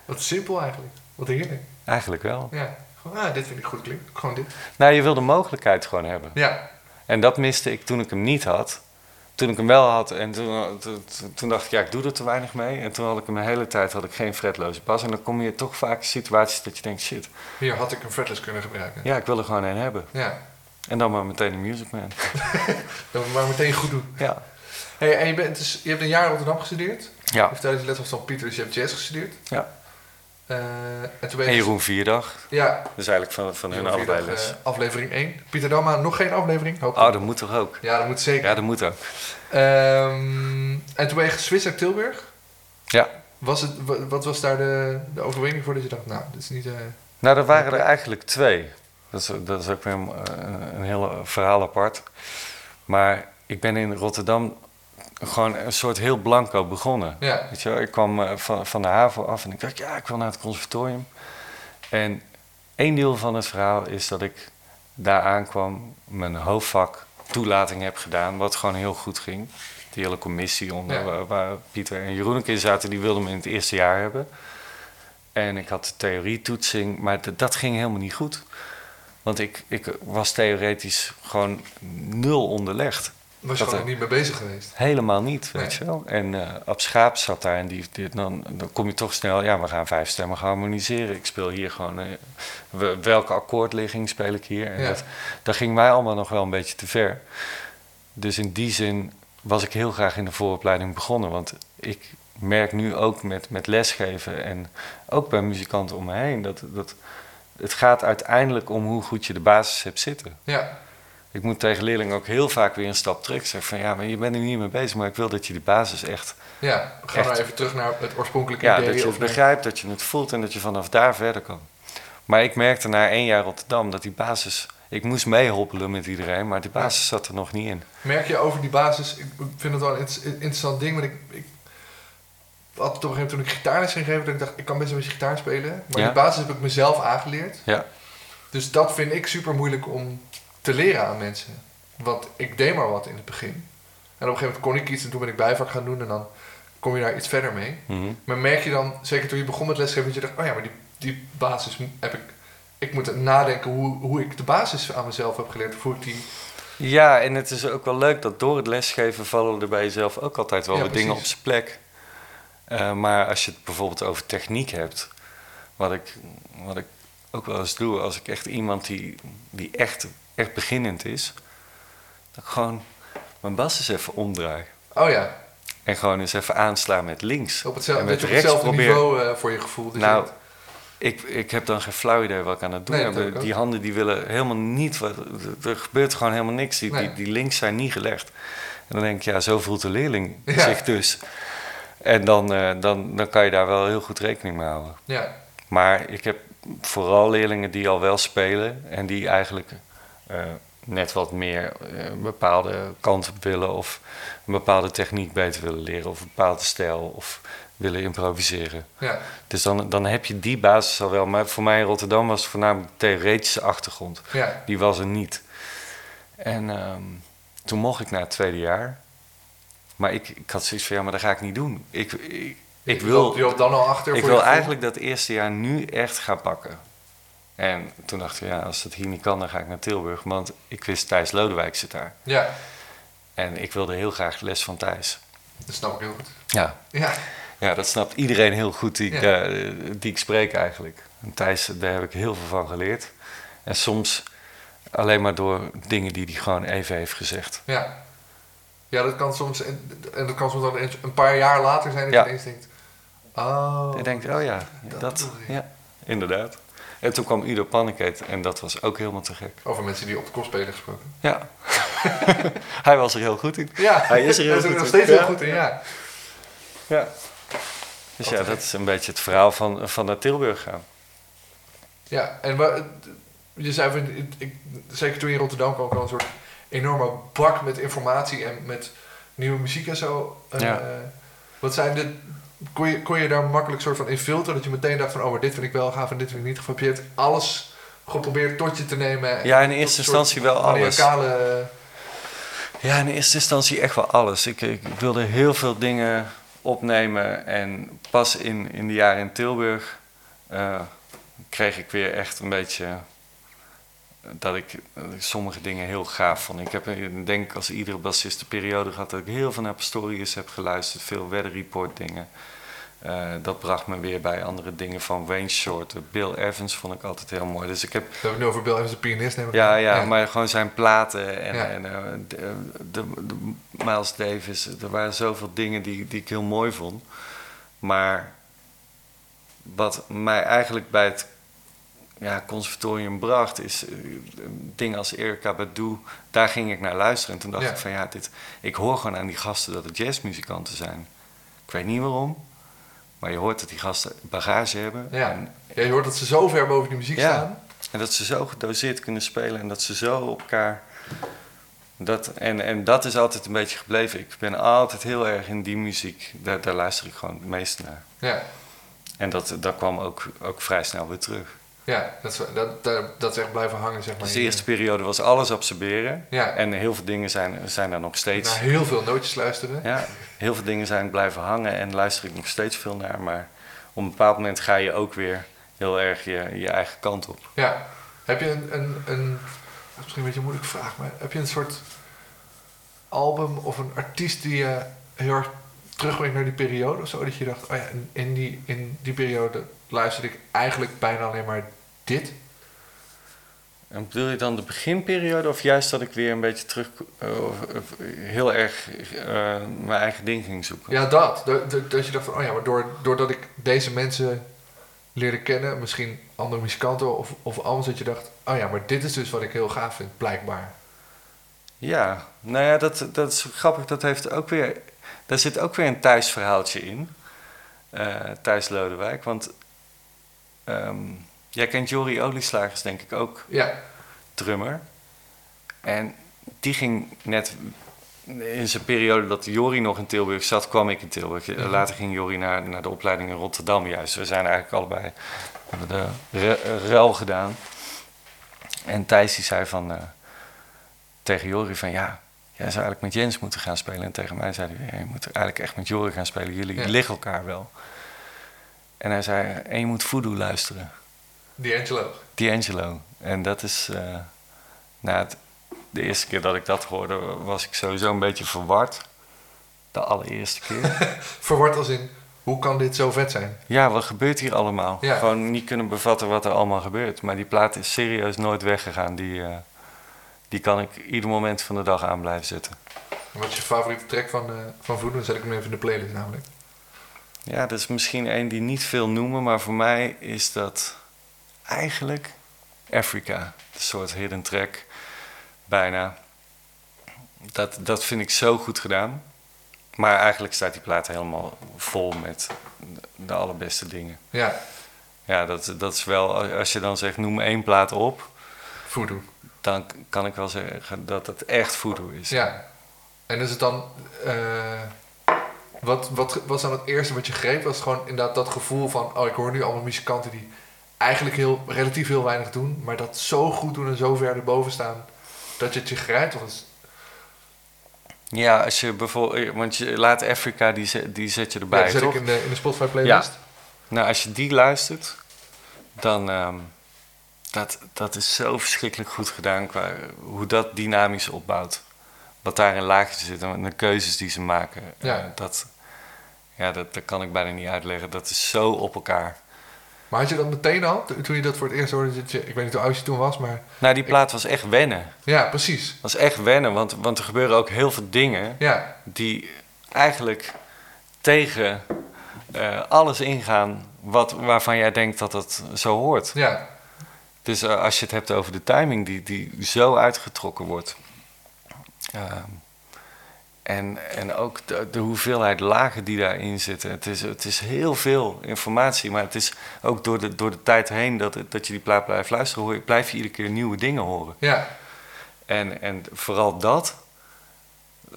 Speaker 3: Wat simpel eigenlijk. Wat heerlijk.
Speaker 4: Eigenlijk wel.
Speaker 3: Ja. Van, ah, dit vind ik goed klinken. Gewoon dit.
Speaker 4: Nou, je wil de mogelijkheid gewoon hebben.
Speaker 3: Ja.
Speaker 4: En dat miste ik toen ik hem niet had. Toen ik hem wel had en toen, toen, toen dacht ik, ja, ik doe er te weinig mee. En toen had ik hem de hele tijd had ik geen fretloze bas. En dan kom je toch vaak in situaties dat je denkt, shit,
Speaker 3: Hier had ik een fretless kunnen gebruiken.
Speaker 4: ja, ik wil er gewoon een hebben.
Speaker 3: Ja.
Speaker 4: En dan maar meteen een Music Man.
Speaker 3: Dat we maar meteen goed doen.
Speaker 4: ja.
Speaker 3: Hey, en je, bent dus, je hebt een jaar in Rotterdam gestudeerd.
Speaker 4: ja.
Speaker 3: Je vertelde je net al van Pieter, dus je hebt jazz gestudeerd.
Speaker 4: Ja.
Speaker 3: Eh, en toen ben je...
Speaker 4: En Jeroen Vierdag.
Speaker 3: Ja.
Speaker 4: Dat is eigenlijk van, van hun
Speaker 3: Jeroen
Speaker 4: allebei
Speaker 3: Vierdag,
Speaker 4: les.
Speaker 3: eh, aflevering 1. Pieter Dama, nog geen aflevering? Hoop
Speaker 4: oh, dat moet toch ook?
Speaker 3: Ja, dat moet zeker.
Speaker 4: Ja, dat moet ook.
Speaker 3: Ehm, en toen ben je geswitcht naar Tilburg.
Speaker 4: Ja.
Speaker 3: Was het, wa- wat was daar de, de overweging voor dat je dacht, nou, dit is niet... eh,
Speaker 4: Nou, er waren er eigenlijk twee. Dat is, dat is ook weer een, eh, een heel verhaal apart. Maar ik ben in Rotterdam gewoon een soort heel blanco begonnen.
Speaker 3: Ja.
Speaker 4: Weet je wel, ik kwam eh, van, van de haven af en ik dacht, ja, ik wil naar het conservatorium. En één deel van het verhaal is dat ik daar aankwam, mijn hoofdvak toelating heb gedaan, wat gewoon heel goed ging. Die hele commissie onder,
Speaker 3: Ja.
Speaker 4: waar, waar Pieter en Jeroen ook in zaten, die wilden me in het eerste jaar hebben. En ik had de theorietoetsing, maar d- dat ging helemaal niet goed. Want ik, ik was theoretisch gewoon nul onderlegd.
Speaker 3: was je
Speaker 4: Dat,
Speaker 3: gewoon
Speaker 4: eh,
Speaker 3: nog niet mee bezig geweest?
Speaker 4: Helemaal niet, weet
Speaker 3: Nee.
Speaker 4: je wel. En eh Ab Schaap zat daar en die, die- dan, dan kom je toch snel... ja, we gaan vijf stemmen harmoniseren. Ik speel hier gewoon... eh, we- welke akkoordligging speel ik hier? En
Speaker 3: Ja.
Speaker 4: dat, dat ging mij allemaal nog wel een beetje te ver. Dus in die zin was ik heel graag in de vooropleiding begonnen. Want ik merk nu ook met, met lesgeven en ook bij muzikanten om me heen... Dat, dat het gaat uiteindelijk om hoe goed je de basis hebt zitten.
Speaker 3: Ja,
Speaker 4: Ik moet tegen leerlingen ook heel vaak weer een stap terug zeggen van ja, maar je bent er niet mee bezig, maar ik wil dat je die basis echt,
Speaker 3: ja. We gaan
Speaker 4: Echt.
Speaker 3: nou even terug naar het oorspronkelijke
Speaker 4: ja,
Speaker 3: idee.
Speaker 4: dat je
Speaker 3: of
Speaker 4: het
Speaker 3: naar-
Speaker 4: begrijpt, dat je het voelt en dat je vanaf daar verder kan. Maar ik merkte na één jaar Rotterdam dat die basis, ik moest meehoppelen met iedereen, maar die basis zat er nog niet in.
Speaker 3: Merk je over die basis, ik vind het wel een inter- interessant ding, want ik, ik had op een gegeven moment toen ik gitaarles ging geven, dat ik dacht, ik kan best een beetje gitaar spelen, maar
Speaker 4: Ja.
Speaker 3: die basis heb ik mezelf aangeleerd.
Speaker 4: Ja,
Speaker 3: Dus dat vind ik super moeilijk om te leren aan mensen. Want ik deed maar wat in het begin. En op een gegeven moment kon ik iets en toen ben ik bijvak gaan doen en dan kom je daar iets verder mee.
Speaker 4: Mhm.
Speaker 3: Maar merk je dan, zeker toen je begon met lesgeven, dat je dacht, oh ja, maar die, die basis mo- heb ik... Ik moet nadenken hoe, hoe ik de basis aan mezelf heb geleerd. Of hoe ik die...
Speaker 4: ja en het is ook wel leuk dat door het lesgeven vallen er bij jezelf ook altijd wel
Speaker 3: Ja,
Speaker 4: weer dingen op
Speaker 3: precies.
Speaker 4: zijn plek. Eh, maar als je het bijvoorbeeld over techniek hebt, wat ik, wat ik ook wel eens doe, als ik echt iemand die, die echt, echt beginnend is, dat ik gewoon mijn bas eens even omdraai.
Speaker 3: Oh ja,
Speaker 4: En gewoon eens even aanslaan met links.
Speaker 3: op hetzelfde,
Speaker 4: en
Speaker 3: dat
Speaker 4: met
Speaker 3: je op
Speaker 4: rechts
Speaker 3: hetzelfde
Speaker 4: probeer-
Speaker 3: niveau eh, voor je gevoel. Dus
Speaker 4: Nou,
Speaker 3: dat-
Speaker 4: ik, ik heb dan geen flauw idee wat ik aan het doen
Speaker 3: Nee, dat
Speaker 4: heb.
Speaker 3: heb ik ook.
Speaker 4: die handen die willen helemaal niet. Wat, er gebeurt gewoon helemaal niks. Die,
Speaker 3: Nee.
Speaker 4: die, die links zijn niet gelegd. En dan denk ik, ja, zo voelt de leerling
Speaker 3: Ja.
Speaker 4: zich dus. En dan, eh, dan, dan kan je daar wel heel goed rekening mee houden.
Speaker 3: ja,
Speaker 4: Maar ik heb vooral leerlingen die al wel spelen en die eigenlijk eh, net wat meer eh, een bepaalde kant op willen of een bepaalde techniek beter willen leren of een bepaalde stijl of willen improviseren.
Speaker 3: ja,
Speaker 4: Dus dan, dan heb je die basis al wel. Maar voor mij in Rotterdam was het voornamelijk de theoretische achtergrond.
Speaker 3: ja.
Speaker 4: Die was er niet. En ehm, toen mocht ik naar het tweede jaar. Maar ik, ik had zoiets van, ja, maar dat ga ik niet doen. Ik, ik, ik wil,
Speaker 3: Je loopt dan al achter.
Speaker 4: ik
Speaker 3: voor je
Speaker 4: wil
Speaker 3: gevoel.
Speaker 4: eigenlijk dat eerste jaar nu echt gaan pakken. En toen dacht ik, ja, als dat hier niet kan, dan ga ik naar Tilburg. Want ik wist Thijs Lodewijk zit daar.
Speaker 3: Ja,
Speaker 4: En ik wilde heel graag les van Thijs.
Speaker 3: dat snap ik heel goed.
Speaker 4: Ja,
Speaker 3: Ja,
Speaker 4: ja dat snapt iedereen heel goed die, ik,
Speaker 3: Ja.
Speaker 4: eh, die ik spreek eigenlijk. En Thijs, daar heb ik heel veel van geleerd. En soms alleen maar door dingen die hij gewoon even heeft gezegd.
Speaker 3: ja. Ja, dat kan soms, en en dat kan soms dan eens een paar jaar later zijn dat
Speaker 4: Ja.
Speaker 3: je ineens denkt... Oh,
Speaker 4: Ik denk, oh ja,
Speaker 3: dat
Speaker 4: dat,
Speaker 3: bedoel je.
Speaker 4: ja, inderdaad. En toen kwam Udo Pannikeet en dat was ook helemaal te gek.
Speaker 3: over mensen die op de kop spelen gesproken.
Speaker 4: Ja. hij was er heel goed in.
Speaker 3: Ja,
Speaker 4: hij is er heel
Speaker 3: daar
Speaker 4: goed
Speaker 3: nog
Speaker 4: in.
Speaker 3: steeds
Speaker 4: Ja.
Speaker 3: heel goed in, ja.
Speaker 4: Ja. Dus ja, dat is een beetje het verhaal van, van naar Tilburg gaan.
Speaker 3: Ja, en wa- je zei van... ik- Ik, zeker toen je in Rotterdam kwam, kwam een soort enorme bak met informatie en met nieuwe muziek en zo. Eh,
Speaker 4: Ja.
Speaker 3: Wat zijn de... Kon je, kon je daar makkelijk soort van in filteren? Dat je meteen dacht van, oh, maar dit vind ik wel gaaf en dit vind ik niet gaaf. Heb je het alles geprobeerd tot je te nemen?
Speaker 4: Ja, in eerste instantie wel alles.
Speaker 3: Maniacale...
Speaker 4: Ja, in eerste instantie echt wel alles. Ik, ik wilde heel veel dingen opnemen en pas in, in de jaren in Tilburg eh, kreeg ik weer echt een beetje eh, dat ik eh, sommige dingen heel gaaf vond. Ik heb eh, denk ik als iedere bassist de periode gehad dat ik heel veel naar Pastorius heb geluisterd, veel Weather Report dingen. Eh, dat bracht me weer bij andere dingen van Wayne Short. Bill Evans vond ik altijd heel mooi. Dus ik heb
Speaker 3: We hebben het nu over Bill Evans, de pianist. neem ik
Speaker 4: ja,
Speaker 3: aan.
Speaker 4: ja, maar gewoon zijn platen en,
Speaker 3: Ja.
Speaker 4: en eh, de, de- de Miles Davis. Er waren zoveel dingen die, die ik heel mooi vond. Maar wat mij eigenlijk bij het ja, conservatorium bracht, is eh, dingen als Erika Badu. Daar ging ik naar luisteren. En toen dacht
Speaker 3: Ja.
Speaker 4: ik van ja, dit, ik hoor gewoon aan die gasten dat het jazzmuzikanten zijn. Ik weet niet waarom. Maar je hoort dat die gasten bagage hebben.
Speaker 3: Ja.
Speaker 4: En
Speaker 3: Ja, je hoort dat ze zo ver boven die muziek
Speaker 4: Ja.
Speaker 3: staan.
Speaker 4: en dat ze zo gedoseerd kunnen spelen en dat ze zo op elkaar. Dat, en, en dat is altijd een beetje gebleven. Ik ben altijd heel erg in die muziek. Daar, daar luister ik gewoon het meest naar.
Speaker 3: Ja,
Speaker 4: En dat, dat kwam ook, ook vrij snel weer terug.
Speaker 3: Oh, ja dat, is, dat, dat, dat is echt blijven hangen, zeg maar.
Speaker 4: Dus de eerste periode was alles absorberen.
Speaker 3: Ja. Nou,
Speaker 4: En heel veel dingen zijn, zijn daar nog steeds.
Speaker 3: Naar heel veel nootjes luisteren.
Speaker 4: Ja, heel veel dingen zijn blijven hangen en luister ik nog steeds veel naar. Maar op een bepaald moment ga je ook weer heel erg je, je eigen kant op.
Speaker 3: Ja. Heb je een, een, een, dat is misschien een beetje een moeilijke vraag, maar heb je een soort album of een artiest die je heel erg terugbrengt naar die periode of zo? Dat je dacht, oh ja, in, in die, in die periode luisterde ik eigenlijk bijna alleen maar dit.
Speaker 4: En bedoel je dan de beginperiode of juist dat ik weer een beetje terug, eh, of- of heel erg eh, mijn eigen ding ging zoeken?
Speaker 3: Ja, dat. Dat, dat- dat je dacht van, oh ja, maar door, doordat ik deze mensen leerde kennen, misschien andere muzikanten of, of anders, dat je dacht, oh ja, maar dit is dus wat ik heel gaaf vind, blijkbaar.
Speaker 4: Ja, nou ja, dat, dat is grappig. Dat heeft ook weer, daar zit ook weer een Thijs verhaaltje in. Eh Thijs Lodewijk, want ehm, jij kent Jorie Olieslagers denk ik ook
Speaker 3: Ja,
Speaker 4: drummer. En die ging net in zijn periode dat Jori nog in Tilburg zat, kwam ik in Tilburg. Later ging Jori naar, naar de opleiding in Rotterdam juist. We zijn eigenlijk allebei hebben de ru- ruil gedaan. En Thijs die zei van, eh, tegen Jori van ja, jij zou eigenlijk met Jens moeten gaan spelen. En tegen mij zei hij, "Ja, je moet eigenlijk echt met Jori gaan spelen. Jullie
Speaker 3: Ja.
Speaker 4: liggen elkaar wel. En hij zei, en je moet voodoo luisteren.
Speaker 3: die Angelo.
Speaker 4: D'Angelo. En dat is. eh nou, het- de eerste keer dat ik dat hoorde, was ik sowieso een beetje verward. De allereerste keer.
Speaker 3: Verward als in, hoe kan dit zo vet zijn?
Speaker 4: ja, wat gebeurt hier allemaal?
Speaker 3: Ja.
Speaker 4: Gewoon niet kunnen bevatten wat er allemaal gebeurt. Maar die plaat is serieus nooit weggegaan. Die, eh, die kan ik ieder moment van de dag aan blijven zetten.
Speaker 3: Wat is je favoriete track van, eh van Voodoo? Dan zet ik hem even in de playlist namelijk.
Speaker 4: Ja, dat is misschien één die niet veel noemen, maar voor mij is dat eigenlijk Africa. Een soort hidden track, bijna. Dat, dat vind ik zo goed gedaan. Maar eigenlijk staat die plaat helemaal vol met de allerbeste dingen.
Speaker 3: Ja,
Speaker 4: Ja, dat, dat is wel, als je dan zegt noem één plaat op,
Speaker 3: Voodoo.
Speaker 4: dan k- kan ik wel zeggen dat het echt voodoo is.
Speaker 3: Ja. En is het dan... eh, wat, wat, wat was dan het eerste wat je greep? Was het gewoon inderdaad dat gevoel van... Oh, ik hoor nu allemaal muzikanten die eigenlijk heel, relatief heel weinig doen... maar dat zo goed doen en zo ver erboven staan... dat je het je grijpt? Of is,
Speaker 4: Ja, als je bijvoorbeeld, want je laat Africa, die zet, die zet je
Speaker 3: ja,
Speaker 4: erbij,
Speaker 3: dat zet
Speaker 4: toch?
Speaker 3: ik in de, in de Spotify playlist.
Speaker 4: Nou, als je die luistert, dan. ehm, dat, dat is zo verschrikkelijk goed gedaan qua hoe dat dynamisch opbouut. Wat daar in laagjes zit en de keuzes die ze maken.
Speaker 3: Ja.
Speaker 4: Eh, dat, ja, dat, dat kan ik bijna niet uitleggen. Dat is zo op elkaar.
Speaker 3: Maar had je dat meteen al, to- toen je dat voor het eerst hoorde... Dat je, ik weet niet hoe oud je toen was, maar...
Speaker 4: Nou, die plaat was echt wennen.
Speaker 3: Ja, precies.
Speaker 4: Was echt wennen, want, want er gebeuren ook heel veel dingen
Speaker 3: Ja,
Speaker 4: die eigenlijk tegen eh, alles ingaan wat, waarvan jij denkt dat dat zo hoort.
Speaker 3: ja.
Speaker 4: Dus eh, als je het hebt over de timing die, die zo uitgetrokken wordt. Ehm, en, en ook de, de hoeveelheid lagen die daarin zitten. Het is, het is heel veel informatie, maar het is ook door de, door de tijd heen dat, het- dat je die plaat blijft luisteren, hoor je, blijf je iedere keer nieuwe dingen horen.
Speaker 3: Ja,
Speaker 4: En, en vooral dat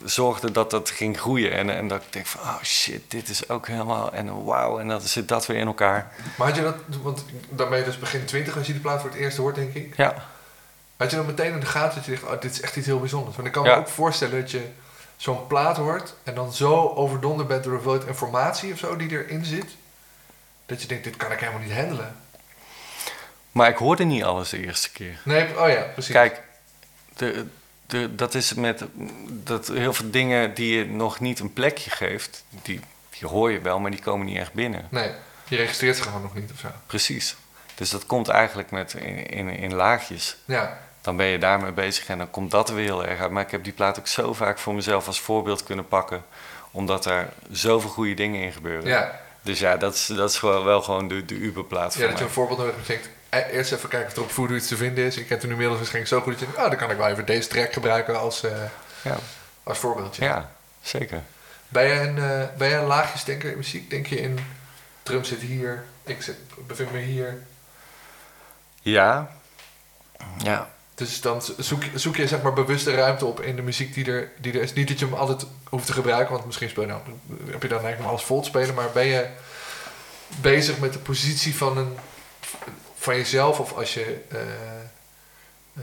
Speaker 4: zorgde dat dat ging groeien. En, en dat ik denk van, oh shit, dit is ook helemaal... En wauw, en dan zit dat weer in elkaar.
Speaker 3: maar had je dat, want dan ben je dus begin 20 als je die plaat voor het eerst hoort, denk ik.
Speaker 4: Ja.
Speaker 3: Had je dan meteen in de gaten dat je dacht, oh, dit is echt iets heel bijzonders. Want ik kan
Speaker 4: Ja.
Speaker 3: me ook voorstellen dat je zo'n plaat hoort en dan zo overdonderd bent door de hoeveelheid informatie of zo die erin zit. Dat je denkt, dit kan ik helemaal niet handelen.
Speaker 4: Maar ik hoorde niet alles de eerste keer.
Speaker 3: Nee, oh ja, precies.
Speaker 4: Kijk, de, de, dat is met dat heel veel dingen die je nog niet een plekje geeft, die, die hoor je wel, maar die komen niet echt binnen.
Speaker 3: Nee, je registreert ze gewoon nog niet of zo.
Speaker 4: Precies. Dus dat komt eigenlijk met in, in, in laagjes.
Speaker 3: Ja,
Speaker 4: Dan ben je daarmee bezig en dan komt dat weer heel erg uit. Maar ik heb die plaat ook zo vaak voor mezelf als voorbeeld kunnen pakken, omdat daar zoveel goede dingen in gebeuren.
Speaker 3: ja.
Speaker 4: Dus ja, dat is, dat is gewoon, wel gewoon de, de Uberplaat
Speaker 3: ja
Speaker 4: voor
Speaker 3: dat je
Speaker 4: mij.
Speaker 3: een voorbeeld nodig hebt. Je denkt, eh, eerst even kijken of er op Voodoo iets te vinden is. Ik heb het nu inmiddels waarschijnlijk zo goed dat je denkt, oh, dan kan ik wel even deze track gebruiken als, eh,
Speaker 4: Ja,
Speaker 3: als voorbeeldje.
Speaker 4: ja, zeker.
Speaker 3: Ben jij een, eh, ben jij een laagjesdenker in muziek? Denk je in drum zit hier, ik zit, bevind me hier.
Speaker 4: Ja. Ja,
Speaker 3: Dus dan z- zoek, zoek je zeg maar bewust de ruimte op in de muziek die er, die er is. Niet dat je hem altijd hoeft te gebruiken, want misschien speel je dan, heb je dan eigenlijk maar alles vol te spelen. Maar ben je bezig met de positie van, een, van jezelf of als je eh, eh,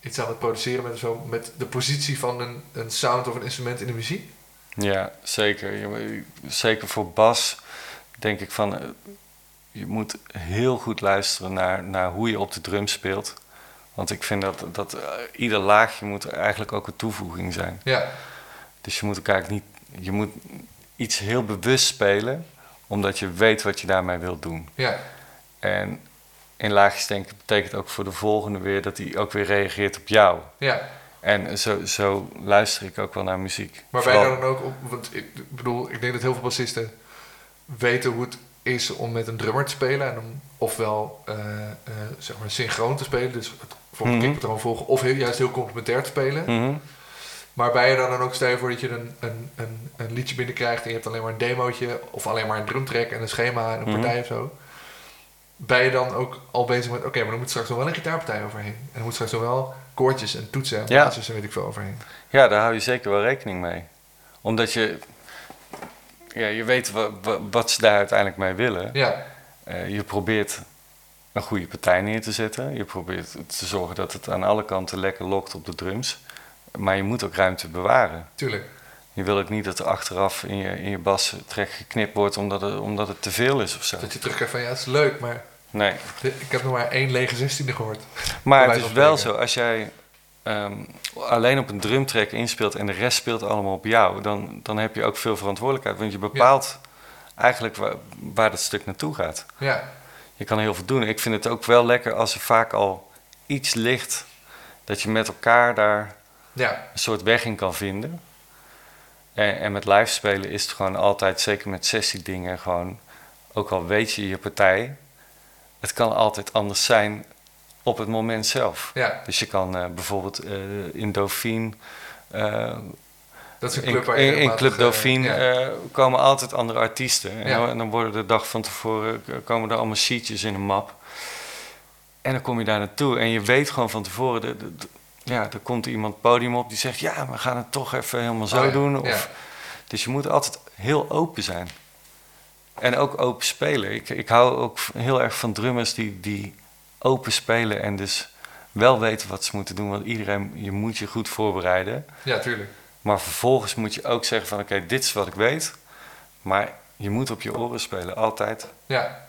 Speaker 3: iets aan het produceren bent of zo, met de positie van een, een sound of een instrument in de muziek?
Speaker 4: Ja, zeker. Je moet- Zeker voor Bas denk ik van... eh, Je moet heel goed luisteren naar, naar hoe je op de drum speelt. Want ik vind dat, dat eh, ieder laagje moet eigenlijk ook een toevoeging zijn.
Speaker 3: Ja,
Speaker 4: Dus je moet ook eigenlijk niet... Je moet iets heel bewust spelen, omdat je weet wat je daarmee wilt doen.
Speaker 3: ja,
Speaker 4: En in laagjes denken betekent ook voor de volgende weer... dat hij ook weer reageert op jou.
Speaker 3: ja.
Speaker 4: En zo, zo luister ik ook wel naar muziek.
Speaker 3: Maar wij
Speaker 4: Vooral-
Speaker 3: daar dan ook op, want ik bedoel, ik denk dat heel veel bassisten weten hoe het is om met een drummer te spelen. En om ofwel eh, eh, zeg maar synchroon te spelen, dus het voor een
Speaker 4: Mhm.
Speaker 3: kickpatroon volgen, of heel, juist heel complementair te spelen.
Speaker 4: Mhm.
Speaker 3: Maar ben je daar dan ook stel je voor dat je een, een, een, een liedje binnenkrijgt en je hebt alleen maar een demootje of alleen maar een drumtrack en een schema en een
Speaker 4: Mhm.
Speaker 3: partij of zo. Ben je dan ook al bezig met, oké, maar er moet straks nog wel een gitaarpartij overheen. En er moet straks nog wel koortjes en toetsen en
Speaker 4: Ja.
Speaker 3: basses en weet ik veel overheen.
Speaker 4: Ja, daar hou je zeker wel rekening mee. Omdat je, ja, je weet wa- wa- wat ze daar uiteindelijk mee willen.
Speaker 3: Ja,
Speaker 4: Eh, je probeert een goede partij neer te zetten. Je probeert te zorgen dat het aan alle kanten lekker lokt op de drums. Maar je moet ook ruimte bewaren.
Speaker 3: tuurlijk.
Speaker 4: Je wil ook niet dat er achteraf in je, in je bas trek geknipt wordt omdat het, omdat het te veel is of zo.
Speaker 3: Dat je terugkrijgt van, ja, het is leuk, maar
Speaker 4: Nee.
Speaker 3: Ik heb nog maar één lege 16e gehoord.
Speaker 4: Maar
Speaker 3: Bij
Speaker 4: het
Speaker 3: wijze
Speaker 4: is
Speaker 3: van
Speaker 4: wel zo,
Speaker 3: spreken.
Speaker 4: als jij ehm, alleen op een drumtrack inspeelt en de rest speelt allemaal op jou, dan, dan heb je ook veel verantwoordelijkheid. Want je bepaalt eigenlijk waar, waar dat stuk naartoe gaat.
Speaker 3: Ja,
Speaker 4: Je kan heel veel doen. Ik vind het ook wel lekker als er vaak al iets ligt dat je met elkaar daar
Speaker 3: ja,
Speaker 4: een soort weg in kan vinden. En, en met live spelen is het gewoon altijd, zeker met sessiedingen, gewoon, ook al weet je je partij, het kan altijd anders zijn op het moment zelf.
Speaker 3: ja.
Speaker 4: Dus je kan eh, bijvoorbeeld eh, in Dauphine, eh,
Speaker 3: Dat is een
Speaker 4: in,
Speaker 3: club waar je
Speaker 4: in, in
Speaker 3: regelmatig,
Speaker 4: Club
Speaker 3: eh,
Speaker 4: Dauphine
Speaker 3: ja.
Speaker 4: eh, komen altijd andere artiesten. En,
Speaker 3: Ja.
Speaker 4: dan, en dan worden de dag van tevoren eh, komen er allemaal sheetjes in een map. En dan kom je daar naartoe en je weet gewoon van tevoren, de- de- de- ja, er komt iemand het podium op die zegt, ja, we gaan het toch even helemaal zo
Speaker 3: Oh ja,
Speaker 4: doen.
Speaker 3: ja.
Speaker 4: Of, Dus je moet altijd heel open zijn. En ook open spelen. Ik, ik hou ook v- heel erg van drummers die, die open spelen en dus wel weten wat ze moeten doen. Want iedereen, je moet je goed voorbereiden.
Speaker 3: ja, tuurlijk.
Speaker 4: Maar vervolgens moet je ook zeggen van oké, dit is wat ik weet. Maar je moet op je oren spelen, altijd.
Speaker 3: Ja,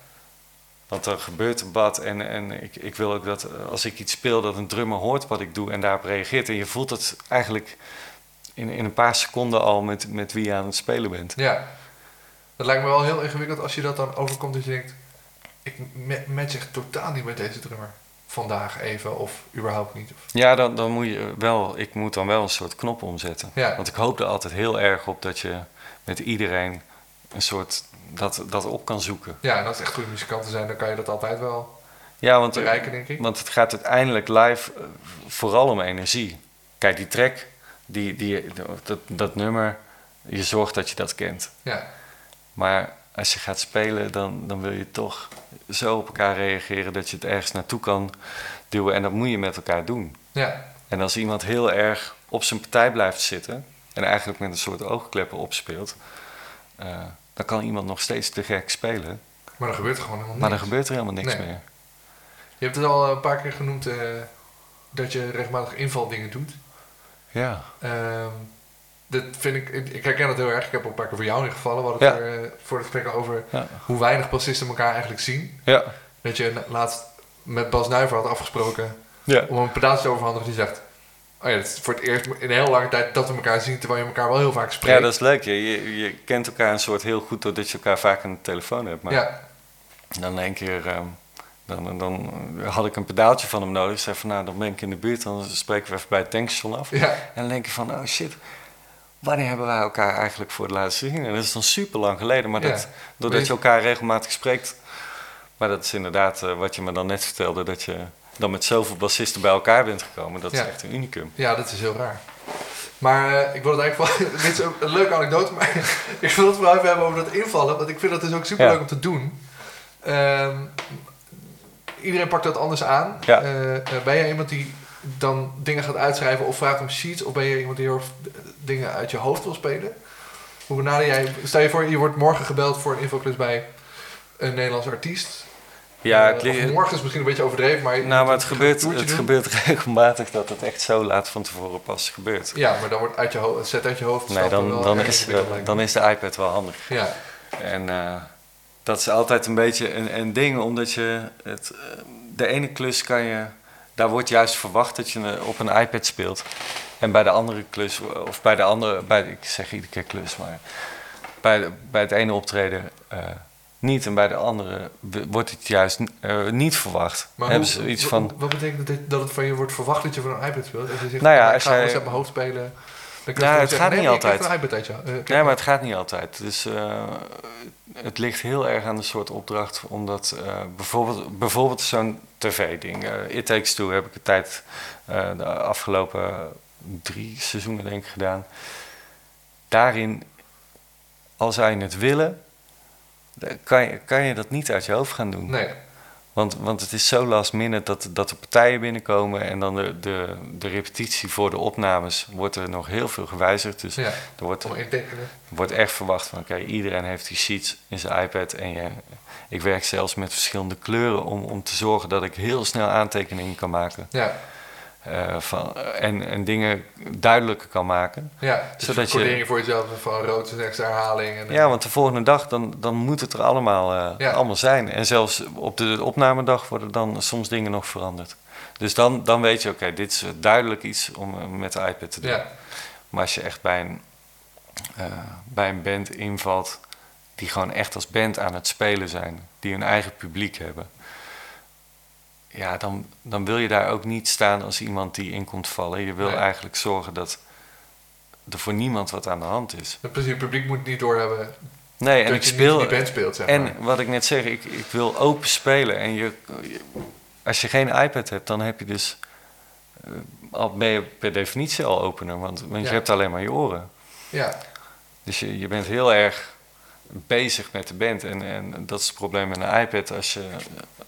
Speaker 4: Want er gebeurt een bad en, en ik, ik wil ook dat eh, als ik iets speel, dat een drummer hoort wat ik doe en daarop reageert. En je voelt het eigenlijk in, in een paar seconden al met, met wie je aan het spelen bent.
Speaker 3: ja. Dat lijkt me wel heel ingewikkeld als je dat dan overkomt dat je denkt... Ik ma- match echt totaal niet met deze drummer. Vandaag even of überhaupt niet. Of,
Speaker 4: Ja, dan, dan moet je wel, ik moet dan wel een soort knop omzetten.
Speaker 3: Ja.
Speaker 4: Want ik hoop er altijd heel erg op dat je met iedereen een soort dat, dat op kan zoeken.
Speaker 3: ja, en als het echt goede muzikanten zijn, dan kan je dat altijd wel
Speaker 4: Ja, want
Speaker 3: bereiken, denk ik.
Speaker 4: Want het gaat uiteindelijk live eh, vooral om energie. Kijk, die track, die, die, dat, dat nummer, je zorgt dat je dat kent.
Speaker 3: Ja,
Speaker 4: Maar als je gaat spelen, dan, dan wil je toch zo op elkaar reageren dat je het ergens naartoe kan duwen. En dat moet je met elkaar doen.
Speaker 3: ja,
Speaker 4: En als iemand heel erg op zijn partij blijft zitten en eigenlijk met een soort oogkleppen opspeelt, eh, dan kan iemand nog steeds te gek spelen.
Speaker 3: maar dan gebeurt er gewoon helemaal
Speaker 4: Maar
Speaker 3: niks.
Speaker 4: dan gebeurt er helemaal niks
Speaker 3: Nee.
Speaker 4: meer.
Speaker 3: Je hebt het al een paar keer genoemd eh, dat je regelmatig invaldingen doet.
Speaker 4: Ja.
Speaker 3: Ehm, dat vind ik, ik, ik herken dat heel erg. Ik heb ook een paar keer voor jou ingevallen. We hadden het
Speaker 4: Ja.
Speaker 3: er eh, voor het gesprek al over
Speaker 4: Ja.
Speaker 3: hoe weinig bassisten elkaar eigenlijk zien.
Speaker 4: ja.
Speaker 3: Dat je na- laatst met Bas Nijver had afgesproken
Speaker 4: Ja.
Speaker 3: om een pedaaltje overhandig die zegt. Oh ja, dat is voor het eerst in een heel lange tijd dat we elkaar zien, terwijl je elkaar wel heel vaak spreekt.
Speaker 4: Ja, dat is leuk. Je, je, je kent elkaar een soort heel goed doordat je elkaar vaak aan de telefoon hebt. Maar
Speaker 3: Ja.
Speaker 4: dan in één keer, ehm, dan, dan had ik een pedaaltje van hem nodig. Ik zei van, nou, dan ben ik in de buurt. Dan spreken we even bij het tankstation af.
Speaker 3: Ja.
Speaker 4: En dan denk je van, oh shit, wanneer hebben wij elkaar eigenlijk voor het laatst gezien? En dat is dan super lang geleden. Maar
Speaker 3: Ja.
Speaker 4: dat, doordat je elkaar regelmatig spreekt... Maar dat is inderdaad eh, wat je me dan net vertelde. Dat je dan met zoveel bassisten bij elkaar bent gekomen. Dat
Speaker 3: Ja.
Speaker 4: is echt een unicum.
Speaker 3: Ja, dat is heel raar. Maar eh, ik wil het eigenlijk wel... dit is een, een leuke anekdote, maar ik wil het vooral even hebben over dat invallen. Want ik vind dat dus ook super leuk
Speaker 4: Ja.
Speaker 3: om te doen. Ehm, iedereen pakt dat anders aan.
Speaker 4: Ja.
Speaker 3: Eh, eh, ben jij iemand die dan dingen gaat uitschrijven of vraagt om sheets? Of ben je iemand die heel erg eh, dingen uit je hoofd wil spelen? Hoe benader jij... Stel je voor, je wordt morgen gebeld voor een infoklus bij een Nederlands artiest.
Speaker 4: Ja,
Speaker 3: Eh,
Speaker 4: het,
Speaker 3: of
Speaker 4: li-
Speaker 3: morgen is misschien een beetje overdreven, maar... je
Speaker 4: Nou, maar
Speaker 3: moet
Speaker 4: het
Speaker 3: een
Speaker 4: gebeurt,
Speaker 3: toertje
Speaker 4: het
Speaker 3: doen.
Speaker 4: gebeurt regelmatig dat het echt zo laat van tevoren pas gebeurt.
Speaker 3: Ja, maar dan wordt uit je hoofd, het zet uit je hoofd.
Speaker 4: Nee,
Speaker 3: stapt er
Speaker 4: dan,
Speaker 3: wel
Speaker 4: dan,
Speaker 3: ergens
Speaker 4: is,
Speaker 3: in, lijkt me.
Speaker 4: dan is de iPad wel handig.
Speaker 3: Ja,
Speaker 4: En eh, dat is altijd een beetje een, een ding, omdat je het, eh, de ene klus kan je, daar wordt juist verwacht dat je eh, op een iPad speelt. En bij de andere klus, of bij de andere, bij, ik zeg iedere keer klus, maar bij, de- bij het ene optreden eh, niet en bij de andere w- wordt het juist eh, niet verwacht.
Speaker 3: maar
Speaker 4: Hebben
Speaker 3: hoe-
Speaker 4: ze iets
Speaker 3: wa-
Speaker 4: van,
Speaker 3: wat betekent dit, dat het van je wordt verwacht dat je van een iPad speelt? Als je zegt,
Speaker 4: Nou ja,
Speaker 3: ik
Speaker 4: als
Speaker 3: ga
Speaker 4: jij-
Speaker 3: gewoon eens uit mijn hoofd spelen. Dan
Speaker 4: Nou,
Speaker 3: je
Speaker 4: het
Speaker 3: zeggen,
Speaker 4: gaat
Speaker 3: nee,
Speaker 4: niet
Speaker 3: maar ik heb
Speaker 4: altijd.
Speaker 3: een iPad uit je ho- eh, ik heb-
Speaker 4: Nee, maar het gaat niet altijd. Dus eh, het ligt heel erg aan de soort opdracht. Omdat eh, bijvoorbeeld, bijvoorbeeld zo'n tv-ding. eh It Takes Two heb ik een tijd eh, de afgelopen drie seizoenen denk ik gedaan. Daarin, als zij het willen, dan kan je, kan je dat niet uit je hoofd gaan doen.
Speaker 3: Nee,
Speaker 4: Want, want het is zo last minute dat, dat de partijen binnenkomen en dan de, de, de repetitie voor de opnames wordt er nog heel veel gewijzigd. Dus
Speaker 3: Ja.
Speaker 4: er wordt
Speaker 3: om in te tekenen.
Speaker 4: wordt echt verwacht van, oké, iedereen heeft die sheets in zijn iPad. En je, ik werk zelfs met verschillende kleuren om, om te zorgen dat ik heel snel aantekeningen kan maken.
Speaker 3: Ja,
Speaker 4: eh, van, en, en dingen duidelijker kan maken.
Speaker 3: ja. Dus
Speaker 4: Zodat
Speaker 3: Zodat
Speaker 4: je-
Speaker 3: je... voor jezelf van rood is een extra herhaling. En, eh,
Speaker 4: Ja, want de volgende dag dan, dan moet het er allemaal, eh,
Speaker 3: Ja.
Speaker 4: allemaal zijn. En zelfs op de opnamedag worden dan soms dingen nog veranderd. Dus dan, dan weet je, oké, dit is duidelijk iets om eh, met de iPad te doen.
Speaker 3: ja.
Speaker 4: Maar als je echt bij een, eh, bij een band invalt die gewoon echt als band aan het spelen zijn, die hun eigen publiek hebben, ja, dan, dan wil je daar ook niet staan als iemand die in komt vallen. Je wil
Speaker 3: Nee.
Speaker 4: eigenlijk zorgen dat er voor niemand wat aan de hand is.
Speaker 3: Het principe, het publiek moet niet doorhebben
Speaker 4: Nee, en
Speaker 3: dat
Speaker 4: ik
Speaker 3: je
Speaker 4: speel.
Speaker 3: niet in die band speelt, zeg maar.
Speaker 4: En wat ik net zeg, ik, ik wil open spelen. En je, je- als je geen iPad hebt, dan heb je dus. eh, al ben je per definitie al opener, want, want
Speaker 3: Ja.
Speaker 4: je hebt alleen maar je oren.
Speaker 3: Ja,
Speaker 4: Dus je, je bent heel erg bezig met de band. En, en dat is het probleem met een iPad. Als je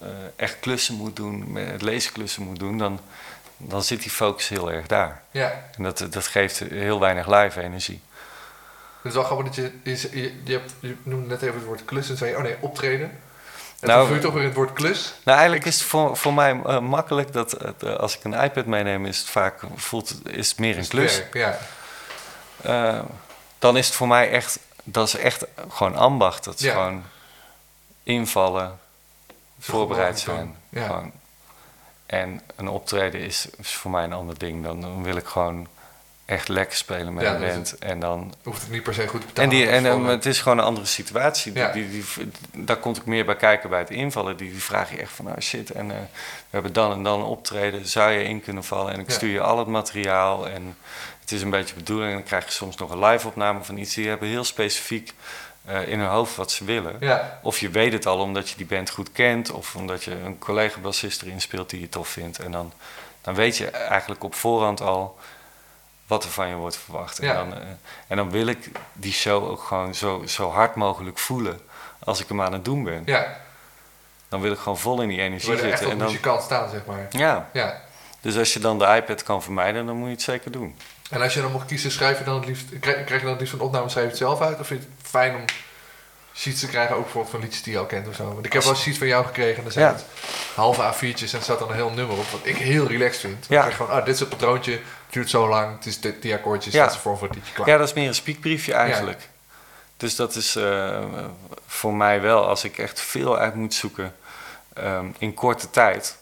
Speaker 4: eh, echt klussen moet doen, met leesklussen moet doen, dan, dan zit die focus heel erg daar.
Speaker 3: ja.
Speaker 4: En dat, dat geeft heel weinig live energie.
Speaker 3: Het is wel grappig dat je... Je, je, je hebt, je noemde net even het woord klus en zei je, oh nee, optreden. En
Speaker 4: Nou,
Speaker 3: nou, toen je toch weer het woord klus.
Speaker 4: Nou, eigenlijk is het voor, voor mij eh, makkelijk dat het, eh, als ik een iPad meeneem, is het vaak voelt, het- is het meer een klus.
Speaker 3: Werk, Ja,
Speaker 4: Eh, dan is het voor mij echt, dat is echt gewoon ambacht. Dat is
Speaker 3: Ja.
Speaker 4: gewoon invallen, voorbereid zijn.
Speaker 3: Ja.
Speaker 4: Gewoon. En een optreden is, is voor mij een ander ding. Dan, dan wil ik gewoon echt lekker spelen met
Speaker 3: Ja,
Speaker 4: een
Speaker 3: dat is
Speaker 4: band. En, dan,
Speaker 3: hoeft het niet per se goed te
Speaker 4: en,
Speaker 3: betalen.
Speaker 4: die, en,
Speaker 3: of
Speaker 4: eh,
Speaker 3: voor-
Speaker 4: het is gewoon een andere situatie. Die-
Speaker 3: Ja.
Speaker 4: Die, die, daar komt ik meer bij kijken bij het invallen. Die, die vraag je echt van, nou shit, en, eh, we hebben dan en dan een optreden. Zou je in kunnen vallen? En ik
Speaker 3: Ja.
Speaker 4: stuur je al het materiaal. En het is een beetje bedoeling. En dan krijg je soms nog een live opname van iets. Die hebben heel specifiek eh, in hun hoofd wat ze willen.
Speaker 3: Ja,
Speaker 4: Of je weet het al omdat je die band goed kent, of omdat je een collega bassist erin speelt die je tof vindt. En dan, dan weet je eigenlijk op voorhand al wat er van je wordt verwacht.
Speaker 3: Ja.
Speaker 4: En, dan, eh, en dan wil ik die show ook gewoon zo, zo hard mogelijk voelen als ik hem aan het doen ben.
Speaker 3: ja.
Speaker 4: Dan wil ik gewoon vol in die
Speaker 3: Je
Speaker 4: energie
Speaker 3: wordt er echt
Speaker 4: zitten.
Speaker 3: als
Speaker 4: En dan,
Speaker 3: muzikant staan, zeg maar.
Speaker 4: ja,
Speaker 3: Ja.
Speaker 4: dus als je dan de iPad kan vermijden, dan moet je het zeker doen.
Speaker 3: En als je dan mocht kiezen, schrijf je dan het liefst, krijg, krijg je dan het liefst een opname, schrijf je het zelf uit? Of vind je het fijn om sheets te krijgen, ook bijvoorbeeld van liedjes die je al kent of zo? Want ik heb wel eens sheets van jou gekregen en dan zijn
Speaker 4: Ja.
Speaker 3: het halve A4'tjes en er staat dan een heel nummer op, wat ik heel relaxed vind.
Speaker 4: Ja.
Speaker 3: Ja. gewoon, ah, dit is het patroontje, het duurt zo lang, het is dit, die akkoordjes,
Speaker 4: Ja.
Speaker 3: dat is de vorm van het liedje klaar.
Speaker 4: Ja, dat is meer een speakbriefje eigenlijk. Dus dat is eh, voor mij wel, als ik echt veel uit moet zoeken ehm, in korte tijd,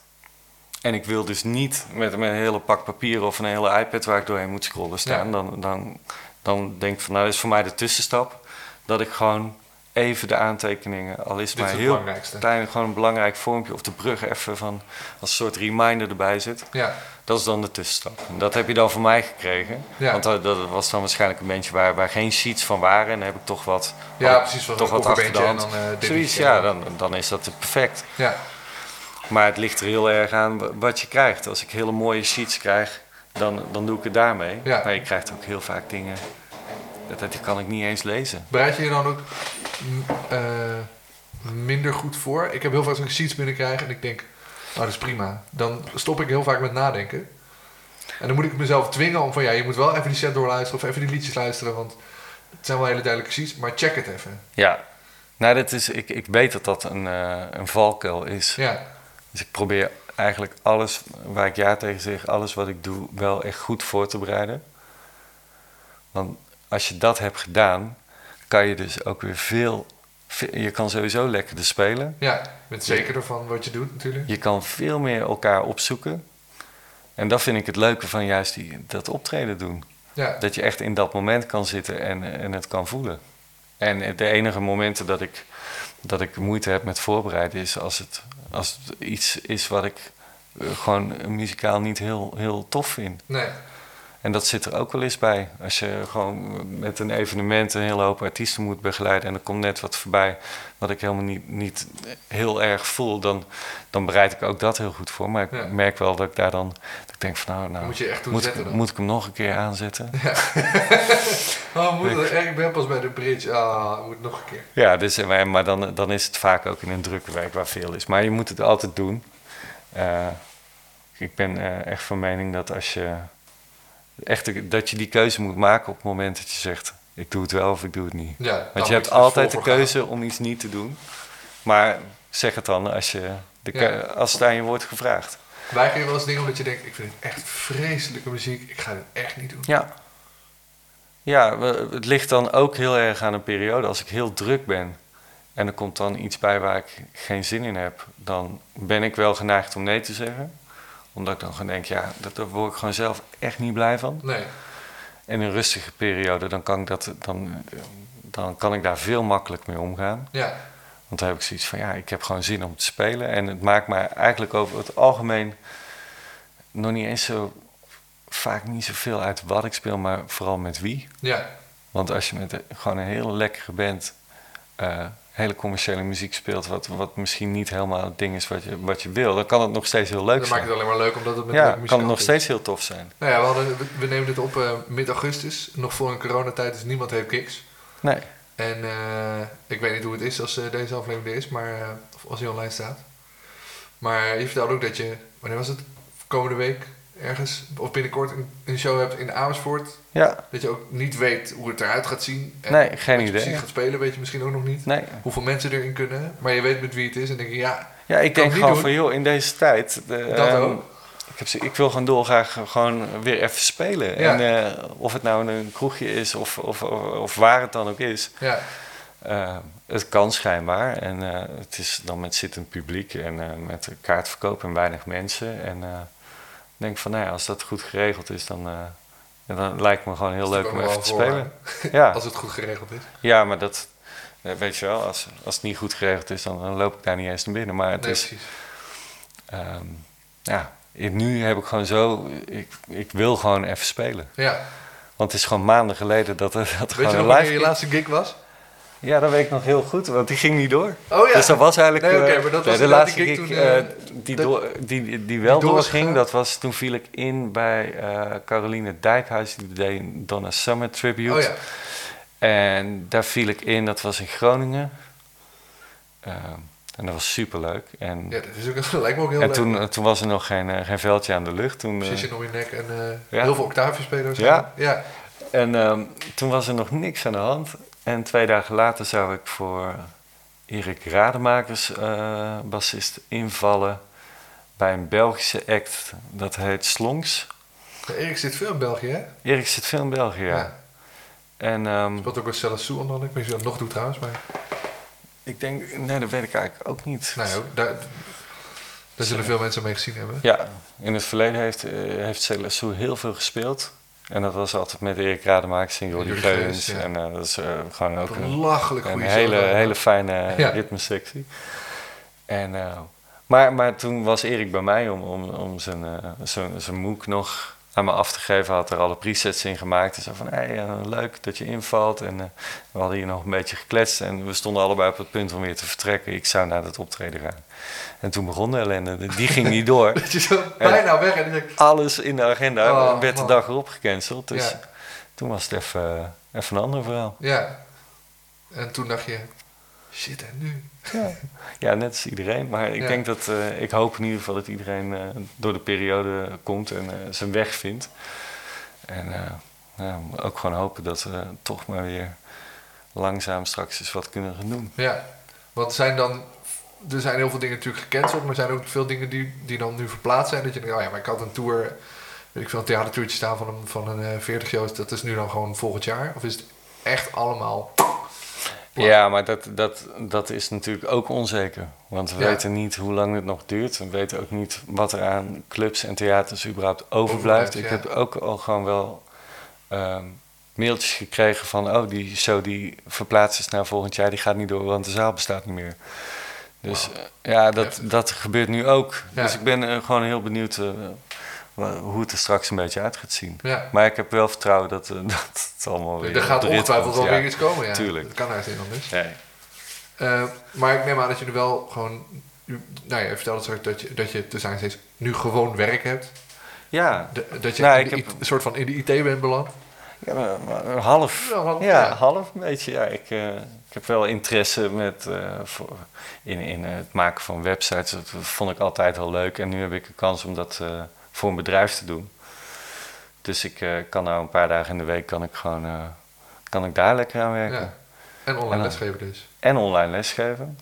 Speaker 4: En ik wil dus niet met, met een hele pak papier of een hele iPad waar ik doorheen moet scrollen staan.
Speaker 3: Ja.
Speaker 4: Dan, dan, dan denk ik van, nou, dat is voor mij de tussenstap. Dat ik gewoon even de aantekeningen, al is het
Speaker 3: Dit is
Speaker 4: maar
Speaker 3: het
Speaker 4: heel
Speaker 3: belangrijkste.
Speaker 4: klein, gewoon een belangrijk vormpje of de brug even van als een soort reminder erbij zit.
Speaker 3: Ja.
Speaker 4: Dat is dan de tussenstap. En dat heb je dan van mij gekregen.
Speaker 3: Ja.
Speaker 4: Want dat, dat was dan waarschijnlijk een bandje waar, waar geen sheets van waren. En dan heb ik toch wat,
Speaker 3: Ja,
Speaker 4: had ik
Speaker 3: precies, wat
Speaker 4: toch
Speaker 3: een
Speaker 4: wat achter de hand.
Speaker 3: coverbandje en dan, eh, dit
Speaker 4: Zoiets,
Speaker 3: liedje.
Speaker 4: ja, dan, dan is dat perfect.
Speaker 3: Ja.
Speaker 4: Maar het ligt er heel erg aan wa- wat je krijgt. Als ik hele mooie sheets krijg, dan, dan doe ik het daarmee.
Speaker 3: Ja.
Speaker 4: Maar je krijgt ook heel vaak dingen, dat, dat kan ik niet eens lezen.
Speaker 3: Bereid je je dan ook m, eh, minder goed voor? Ik heb heel vaak zo'n sheets binnenkrijg en ik denk, oh dat is prima. Dan stop ik heel vaak met nadenken. En dan moet ik mezelf dwingen om van, ja, je moet wel even die set doorluisteren of even die liedjes luisteren, want het zijn wel hele duidelijke sheets, maar check het even.
Speaker 4: Ja, nou, dat is, ik, ik weet dat dat een, eh, een valkuil is.
Speaker 3: Ja,
Speaker 4: Dus ik probeer eigenlijk alles waar ik ja tegen zeg, alles wat ik doe, wel echt goed voor te bereiden. Want als je dat hebt gedaan, kan je dus ook weer veel. ve- Je kan sowieso lekkerder spelen.
Speaker 3: ja, je bent zekerder van wat je doet natuurlijk.
Speaker 4: Je kan veel meer elkaar opzoeken. En dat vind ik het leuke van juist die, dat optreden doen.
Speaker 3: Ja,
Speaker 4: Dat je echt in dat moment kan zitten en, en het kan voelen. En de enige momenten dat ik, dat ik moeite heb met voorbereiden is als het, als het iets is wat ik eh, gewoon muzikaal niet heel, heel tof vind.
Speaker 3: nee,
Speaker 4: En dat zit er ook wel eens bij. Als je gewoon met een evenement een hele hoop artiesten moet begeleiden en er komt net wat voorbij wat ik helemaal niet, niet heel erg voel, dan, dan bereid ik ook dat heel goed voor. Maar ik
Speaker 3: Ja.
Speaker 4: merk wel dat ik daar dan, dat ik denk van nou, nou
Speaker 3: moet je echt toe
Speaker 4: moet,
Speaker 3: zetten
Speaker 4: ik,
Speaker 3: dan.
Speaker 4: moet ik hem nog een keer aanzetten?
Speaker 3: Oh, moet dat- ik ben pas bij de bridge. Ah, moet nog een keer.
Speaker 4: Ja, dus, eh, maar maar dan, dan is het vaak ook in een drukke wijk waar veel is. Maar je moet het altijd doen. Eh, ik ben eh, echt van mening dat als je echt dat je die keuze moet maken op het moment dat je zegt: ik doe het wel of ik doe het niet.
Speaker 3: Ja, dan
Speaker 4: Want
Speaker 3: moet
Speaker 4: je hebt
Speaker 3: er vol
Speaker 4: altijd de
Speaker 3: voor gaan.
Speaker 4: keuze om iets niet te doen. Maar zeg het dan als, je de
Speaker 3: Ja.
Speaker 4: keu- als het aan je wordt gevraagd.
Speaker 3: Weiger je wel eens dingen omdat je denkt, ik vind het echt vreselijke muziek, ik ga dit echt niet doen.
Speaker 4: Ja. Ja, we- het ligt dan ook heel erg aan een periode. Als ik heel druk ben en er komt dan iets bij waar ik geen zin in heb, dan ben ik wel geneigd om nee te zeggen. Omdat ik dan gewoon denk, ja, dat- daar word ik gewoon zelf echt niet blij van.
Speaker 3: Nee,
Speaker 4: En in een rustige periode, dan kan ik, dat, dan, dan kan ik daar veel makkelijk mee omgaan.
Speaker 3: ja.
Speaker 4: Want dan heb ik zoiets van, ja, ik heb gewoon zin om te spelen. En het maakt mij eigenlijk over het algemeen nog niet eens zo vaak niet zoveel uit wat ik speel, maar vooral met wie.
Speaker 3: Ja,
Speaker 4: Want als je met een- gewoon een hele lekkere band eh, hele commerciële muziek speelt, wat, wat misschien niet helemaal het ding is wat je, wat je wil, dan kan het nog steeds heel leuk
Speaker 3: dat maakt het
Speaker 4: zijn.
Speaker 3: alleen maar leuk omdat het met
Speaker 4: Ja,
Speaker 3: leuke
Speaker 4: kan het
Speaker 3: muzikanten
Speaker 4: nog
Speaker 3: is.
Speaker 4: steeds heel tof zijn.
Speaker 3: Nou ja, we, hadden, we- we nemen dit op eh, mid-augustus, nog voor een coronatijd, dus niemand heeft gigs.
Speaker 4: Nee.
Speaker 3: En eh, ik weet niet hoe het is als eh, deze aflevering er is, maar, eh, of als hij online staat. Maar je vertelde ook dat je, wanneer was het? Komende week ergens, of binnenkort, een, een show hebt in Amersfoort.
Speaker 4: Ja,
Speaker 3: Dat je ook niet weet hoe het eruit gaat zien. En
Speaker 4: Nee, geen
Speaker 3: wat je
Speaker 4: idee.
Speaker 3: precies gaat spelen, weet je misschien ook nog niet.
Speaker 4: nee.
Speaker 3: Hoeveel mensen erin kunnen, maar je weet met wie het is. En denk je, ja,
Speaker 4: Ja, ik
Speaker 3: Kan
Speaker 4: denk
Speaker 3: niet
Speaker 4: gewoon
Speaker 3: doen.
Speaker 4: van joh, in deze tijd. de,
Speaker 3: Dat
Speaker 4: ehm,
Speaker 3: ook.
Speaker 4: Ik, heb, zo- ik wil gewoon dolgraag gewoon weer even spelen.
Speaker 3: Ja.
Speaker 4: En eh, of het nou in een kroegje is of, of, of, of waar het dan ook is.
Speaker 3: ja,
Speaker 4: Eh, het kan schijnbaar. En eh, het is dan met zittend publiek en eh, met kaartverkoop en weinig mensen. En eh, ik denk van, nou ja, als dat goed geregeld is, dan, eh, ja, dan lijkt me gewoon heel
Speaker 3: Dat is
Speaker 4: leuk om
Speaker 3: ook wel
Speaker 4: even te
Speaker 3: een
Speaker 4: spelen. Ja,
Speaker 3: als het goed geregeld is.
Speaker 4: ja maar dat eh, weet je wel, als, als het niet goed geregeld is, dan, dan loop ik daar niet eens naar binnen. Maar het
Speaker 3: nee,
Speaker 4: is,
Speaker 3: precies.
Speaker 4: ehm, ja, ik- nu heb ik gewoon zo, ik, ik wil gewoon even spelen.
Speaker 3: Ja.
Speaker 4: Want het is gewoon maanden geleden dat er, dat er
Speaker 3: Weet je
Speaker 4: gewoon
Speaker 3: nog
Speaker 4: een
Speaker 3: wanneer
Speaker 4: live...
Speaker 3: je laatste gig was?
Speaker 4: Ja, dat weet ik nog heel goed, want die ging niet door.
Speaker 3: Oh ja.
Speaker 4: Dus dat was eigenlijk
Speaker 3: Nee,
Speaker 4: eh,
Speaker 3: oké, maar dat was
Speaker 4: de
Speaker 3: inderdaad
Speaker 4: laatste
Speaker 3: die gig
Speaker 4: gig
Speaker 3: toen, eh,
Speaker 4: eh, die,
Speaker 3: dat-
Speaker 4: door- die, die, wel
Speaker 3: door is
Speaker 4: doorging.
Speaker 3: gegaan.
Speaker 4: Dat was, toen viel ik in bij eh, Caroline Dijkhuis, die deed een Donna Summer Tribute.
Speaker 3: Oh ja.
Speaker 4: En daar viel ik in, dat was in Groningen. Ehm, en dat was superleuk. En,
Speaker 3: ja, dat is ook, dat lijkt me ook heel
Speaker 4: en
Speaker 3: leuk.
Speaker 4: toen, toen was er nog geen, eh, geen veldje aan de lucht. Toen, eh,
Speaker 3: Precies je nog in je nek en eh,
Speaker 4: Ja.
Speaker 3: heel veel octaafjes spelen.
Speaker 4: Ja.
Speaker 3: waarschijnlijk. ja.
Speaker 4: En ehm, toen was er nog niks aan de hand. En twee dagen later zou ik voor Erik Rademakers, eh, bassist, invallen bij een Belgische act. Dat heet Slongs.
Speaker 3: Maar Erik zit veel in België, hè?
Speaker 4: Erik zit veel in België, ja.
Speaker 3: Ja.
Speaker 4: En ehm,
Speaker 3: Wat ook wel Celassou onder andere. Ik weet niet of je dat nog doet trouwens, maar...
Speaker 4: ik denk, nee, dat weet ik eigenlijk ook niet.
Speaker 3: Nou ja, ook daar, dat Daar zullen veel mensen mee gezien hebben.
Speaker 4: Ja, in het verleden heeft, eh, heeft Celassou heel veel gespeeld. En dat was altijd met Erik Rademakers en Jordi
Speaker 3: Jordi Geuns,
Speaker 4: Geuns.
Speaker 3: ja.
Speaker 4: En eh, dat is eh, gewoon ook een,
Speaker 3: Belachelijk
Speaker 4: een
Speaker 3: goede
Speaker 4: hele,
Speaker 3: zanger.
Speaker 4: hele fijne eh,
Speaker 3: Ja.
Speaker 4: ritmesectie. En, eh, maar, maar toen was Erik bij mij om, om, om zijn, eh, zijn, zijn MOOC nog aan me af te geven. Hij had er alle presets in gemaakt. En zo van, hey, eh, leuk dat je invalt. En eh, we hadden hier nog een beetje gekletst. En we stonden allebei op het punt om weer te vertrekken. Ik zou naar dat optreden gaan. En toen begon de ellende. Die ging niet door
Speaker 3: Dat je zo bijna weg en dan denk ik,
Speaker 4: alles in de agenda
Speaker 3: Oh,
Speaker 4: werd
Speaker 3: man.
Speaker 4: de dag erop gecanceld. Dus
Speaker 3: Ja.
Speaker 4: toen was het even, eh, even een ander verhaal.
Speaker 3: ja. En toen dacht je, shit en nu?
Speaker 4: Ja, net als iedereen. Maar ik
Speaker 3: Ja.
Speaker 4: denk dat eh, ik hoop in ieder geval dat iedereen eh, door de periode komt en eh, zijn weg vindt. En eh, nou, ook gewoon hopen dat we eh, toch maar weer langzaam straks eens wat kunnen gaan doen.
Speaker 3: Ja, want zijn dan... Er zijn heel veel dingen natuurlijk gecanceld, maar er zijn ook veel dingen die, die dan nu verplaatst zijn. Dat je denkt, oh ja, maar ik had een tour, weet ik veel, een theatertourtje staan van een, van een eh 40 shows. Dat is nu dan gewoon volgend jaar? Of is het echt allemaal...
Speaker 4: Ja, maar dat, dat, dat is natuurlijk ook onzeker. Want we
Speaker 3: Ja.
Speaker 4: weten niet hoe lang het nog duurt. We weten ook niet wat er aan clubs en theaters überhaupt overblijft.
Speaker 3: Overblijft,
Speaker 4: Ik
Speaker 3: ja.
Speaker 4: heb ook al gewoon wel ehm, mailtjes gekregen van... oh, die show die verplaatst is naar volgend jaar, die gaat niet door... want de zaal bestaat niet meer. Dus eh, ja, dat,
Speaker 3: Heftig.
Speaker 4: dat gebeurt nu ook.
Speaker 3: Ja.
Speaker 4: Dus ik ben eh, gewoon heel benieuwd eh, wa- hoe het er straks een beetje uit gaat zien.
Speaker 3: Ja.
Speaker 4: Maar ik heb wel vertrouwen dat, eh, dat het allemaal weer...
Speaker 3: er gaat
Speaker 4: op de rit
Speaker 3: ongetwijfeld
Speaker 4: komt,
Speaker 3: wel
Speaker 4: ja.
Speaker 3: weer iets komen, ja.
Speaker 4: Tuurlijk.
Speaker 3: Dat kan eigenlijk niet anders.
Speaker 4: Nee.
Speaker 3: Eh, maar ik neem aan dat je nu wel gewoon... Nou ja, je vertelde straks dat je, dat je te zijn steeds nu gewoon werk hebt.
Speaker 4: Ja,
Speaker 3: De- dat je
Speaker 4: Nou,
Speaker 3: in
Speaker 4: ik
Speaker 3: de
Speaker 4: heb-
Speaker 3: IT een soort van in de IT bent beland.
Speaker 4: ja, maar- maar een half.
Speaker 3: Ja, half,
Speaker 4: ja,
Speaker 3: ja.
Speaker 4: half een beetje. Ja, ik, eh, ik heb wel interesse met, eh, voor, in, in eh, het maken van websites. Dat vond ik altijd al leuk. En nu heb ik een kans om dat eh, voor een bedrijf te doen. Dus ik eh, kan nou een paar dagen in de week kan ik gewoon, eh, kan ik daar lekker aan werken.
Speaker 3: Ja. En online
Speaker 4: Ja.
Speaker 3: lesgeven dus.
Speaker 4: En online lesgeven.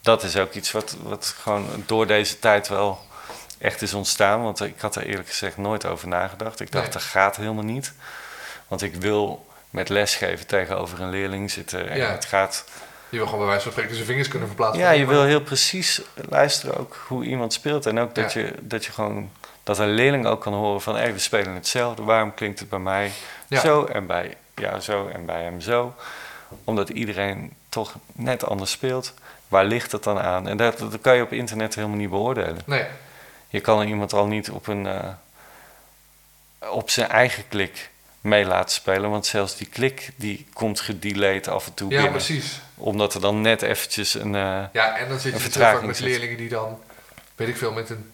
Speaker 4: Dat is ook iets wat, wat gewoon door deze tijd wel echt is ontstaan. Want ik had er eerlijk gezegd nooit over nagedacht. Ik dacht,
Speaker 3: Nee.
Speaker 4: dat gaat helemaal niet. Want ik wil met lesgeven tegenover een leerling zitten. En
Speaker 3: Ja.
Speaker 4: het gaat.
Speaker 3: Je wil gewoon bij wijze van spreken zijn vingers kunnen verplaatsen.
Speaker 4: Ja, je wil heel precies luisteren ook hoe iemand speelt. En ook dat,
Speaker 3: Ja.
Speaker 4: je, dat je gewoon. Dat een leerling ook kan horen van, hé, we spelen hetzelfde. Waarom klinkt het bij mij
Speaker 3: Ja.
Speaker 4: zo en bij jou zo en bij hem zo? Omdat iedereen toch net anders speelt. Waar ligt het dan aan? En dat, dat kan je op internet helemaal niet beoordelen.
Speaker 3: Nee,
Speaker 4: Je kan iemand al niet op, een, eh, op zijn eigen klik mee laten spelen. Want zelfs die klik die komt gedelayed af en toe
Speaker 3: ja,
Speaker 4: binnen.
Speaker 3: precies.
Speaker 4: Omdat er dan net eventjes een... eh,
Speaker 3: Ja, en dan zit je
Speaker 4: Een
Speaker 3: dus heel
Speaker 4: vertraging
Speaker 3: vaak met
Speaker 4: zit.
Speaker 3: leerlingen die dan, weet ik veel, met een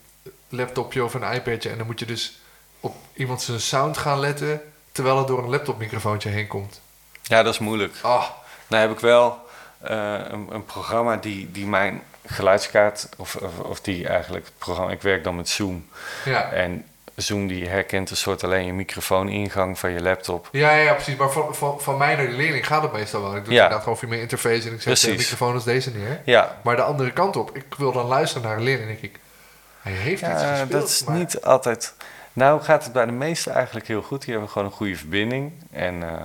Speaker 3: laptopje of een iPadje. En dan moet je dus op iemand zijn sound gaan letten, terwijl het door een laptopmicrofoontje heen komt.
Speaker 4: ja, dat is moeilijk.
Speaker 3: Ah,
Speaker 4: Nou heb ik wel eh, een, een programma die, die mijn geluidskaart, of, of, of die eigenlijk het programma, ik werk dan met Zoom.
Speaker 3: ja.
Speaker 4: En Zoom die herkent een soort alleen je microfoon-ingang van je laptop.
Speaker 3: Ja, ja, precies. Maar van, van, van mij naar de leerling gaat het meestal wel. Ik doe
Speaker 4: Ja.
Speaker 3: inderdaad gewoon via mijn interface en ik zet de
Speaker 4: Precies.
Speaker 3: microfoon als deze neer.
Speaker 4: Ja,
Speaker 3: Maar de andere kant op, ik wil dan luisteren naar een leerling en denk ik, hij heeft iets
Speaker 4: ja
Speaker 3: gespeeld.
Speaker 4: dat is
Speaker 3: maar-
Speaker 4: niet altijd. Nou gaat het bij de meesten eigenlijk heel goed. Die hebben gewoon een goede verbinding. En eh,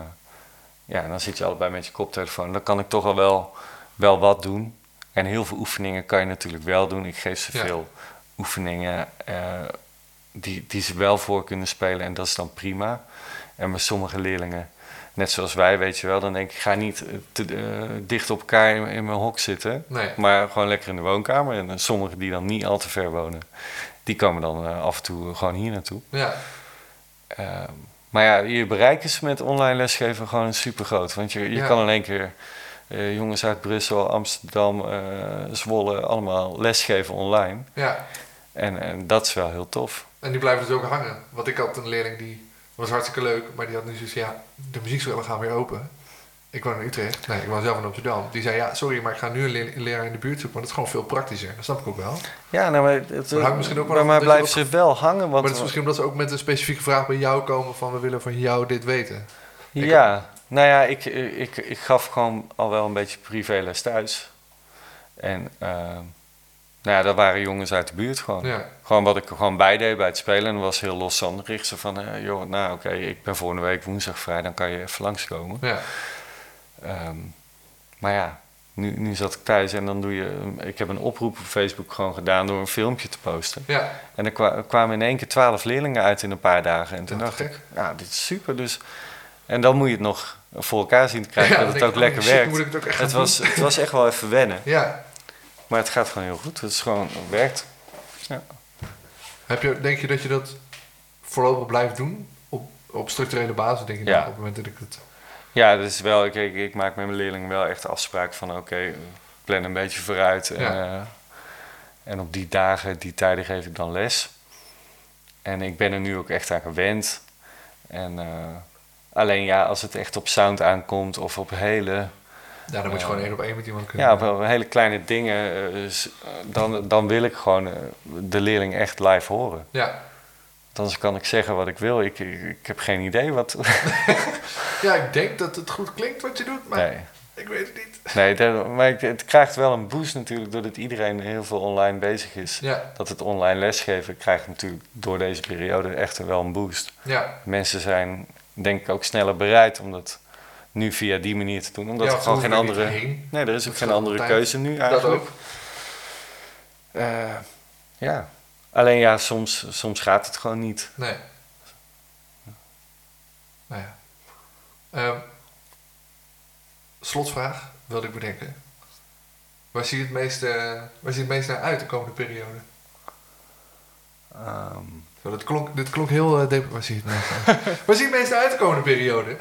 Speaker 4: ja, dan zit je allebei met je koptelefoon. Dan kan ik toch al wel, wel wat doen. En heel veel oefeningen kan je natuurlijk wel doen. Ik geef ze
Speaker 3: Ja.
Speaker 4: veel oefeningen eh, die, die ze wel voor kunnen spelen. En dat is dan prima. En met sommige leerlingen, net zoals wij, weet je wel, dan denk ik, ga niet eh, te, eh, dicht op elkaar in, in mijn hok zitten.
Speaker 3: Nee.
Speaker 4: Maar gewoon lekker in de woonkamer. En eh, sommigen die dan niet al te ver wonen, die komen dan eh, af en toe gewoon hier naartoe.
Speaker 3: Ja,
Speaker 4: Ehm, maar ja, je bereik is met online lesgeven gewoon super groot. Want je, je
Speaker 3: Ja.
Speaker 4: kan in één keer eh, jongens uit Brussel, Amsterdam, eh, Zwolle allemaal lesgeven online.
Speaker 3: ja.
Speaker 4: En, en dat is wel heel tof.
Speaker 3: En die blijven dus ook hangen. Want ik had een leerling die was hartstikke leuk, maar die had nu zoiets van, ja, de muziekscholen gaan weer open. Ik woon in Utrecht, nee, ik woon zelf in Amsterdam. Die zei, ja, sorry, maar ik ga nu een, leer- een leraar in de buurt zoeken, want dat is gewoon veel praktischer. Dat snap ik ook wel.
Speaker 4: Ja, nou, maar het,
Speaker 3: Maar hangt misschien ook wel
Speaker 4: bij
Speaker 3: af
Speaker 4: mij
Speaker 3: dat je
Speaker 4: blijven
Speaker 3: dat-
Speaker 4: ze wel hangen. Want,
Speaker 3: maar dat is misschien omdat ze ook met een specifieke vraag bij jou komen van, we willen van jou dit weten. ik-
Speaker 4: Ja, nou ja, ik, ik, ik gaf gewoon al wel een beetje privéles thuis. En ehm nou ja, dat waren jongens uit de buurt gewoon.
Speaker 3: Ja,
Speaker 4: Gewoon wat ik er gewoon bij deed bij het spelen. En dat was heel losstandig. Ik zei van, eh, joh, nou oké, ik ben volgende week woensdag vrij. Dan kan je even langskomen.
Speaker 3: ja.
Speaker 4: Ehm, maar ja, Nu, nu zat ik thuis en dan doe je. Ik heb een oproep op Facebook gewoon gedaan door een filmpje te posten.
Speaker 3: Ja.
Speaker 4: En er kwa- kwamen in één keer twaalf leerlingen uit in een paar dagen. En toen
Speaker 3: Wat
Speaker 4: dacht
Speaker 3: gek.
Speaker 4: ik, ja, dit is super. Dus, en dan moet je het nog voor elkaar zien te krijgen
Speaker 3: Ja,
Speaker 4: dat het
Speaker 3: dan
Speaker 4: ook
Speaker 3: denk ik,
Speaker 4: lekker
Speaker 3: oh, shit,
Speaker 4: werkt.
Speaker 3: moet ik het ook echt gaan doen?
Speaker 4: was, het was echt wel even wennen,
Speaker 3: Ja.
Speaker 4: maar het gaat gewoon heel goed. Het is gewoon, het werkt.
Speaker 3: Heb je, denk je dat je dat voorlopig blijft doen? Op, op structurele basis denk je
Speaker 4: Ja.
Speaker 3: nou, op het moment dat ik het...
Speaker 4: Ja, dus wel, ik, ik, ik maak met mijn leerlingen wel echt de afspraak van oké, plan een beetje vooruit. En,
Speaker 3: Ja.
Speaker 4: eh, en op die dagen, die tijden geef ik dan les. En ik ben er nu ook echt aan gewend. En eh, alleen ja, als het echt op sound aankomt of op hele
Speaker 3: Ja, dan moet je
Speaker 4: Ja.
Speaker 3: gewoon één op één met iemand kunnen.
Speaker 4: Ja, wel hele kleine dingen. eh, dus, eh, dan, dan wil ik gewoon eh, de leerling echt live horen.
Speaker 3: Ja.
Speaker 4: Dan kan ik zeggen wat ik wil. Ik, ik, ik heb geen idee wat.
Speaker 3: ja, ik denk dat het goed klinkt wat je doet, maar
Speaker 4: Nee,
Speaker 3: ik weet het niet.
Speaker 4: nee dat- maar ik- het krijgt wel een boost natuurlijk doordat iedereen heel veel online bezig is.
Speaker 3: Ja,
Speaker 4: Dat het online lesgeven krijgt natuurlijk door deze periode echt wel een boost.
Speaker 3: ja.
Speaker 4: Mensen zijn denk ik ook sneller bereid om dat nu via die manier te doen. Omdat
Speaker 3: Ja,
Speaker 4: er gewoon
Speaker 3: we
Speaker 4: geen
Speaker 3: hoeven er
Speaker 4: andere.
Speaker 3: niet heen.
Speaker 4: Nee, er is ook
Speaker 3: Dat
Speaker 4: geen
Speaker 3: gaat
Speaker 4: andere
Speaker 3: altijd.
Speaker 4: keuze nu eigenlijk.
Speaker 3: Dat ook.
Speaker 4: Eh, ja. Alleen ja, soms, soms gaat het gewoon niet.
Speaker 3: Nee. Nou ja. Ehm, slotvraag wilde ik bedenken. Waar zie, je het meest, eh, waar zie je het meest naar uit de komende periode?
Speaker 4: Ehm,
Speaker 3: Zo, dat klonk, dit klonk heel... eh, dep- waar zie je het meest naar uit? Waar zie je het meest naar uit de komende periode?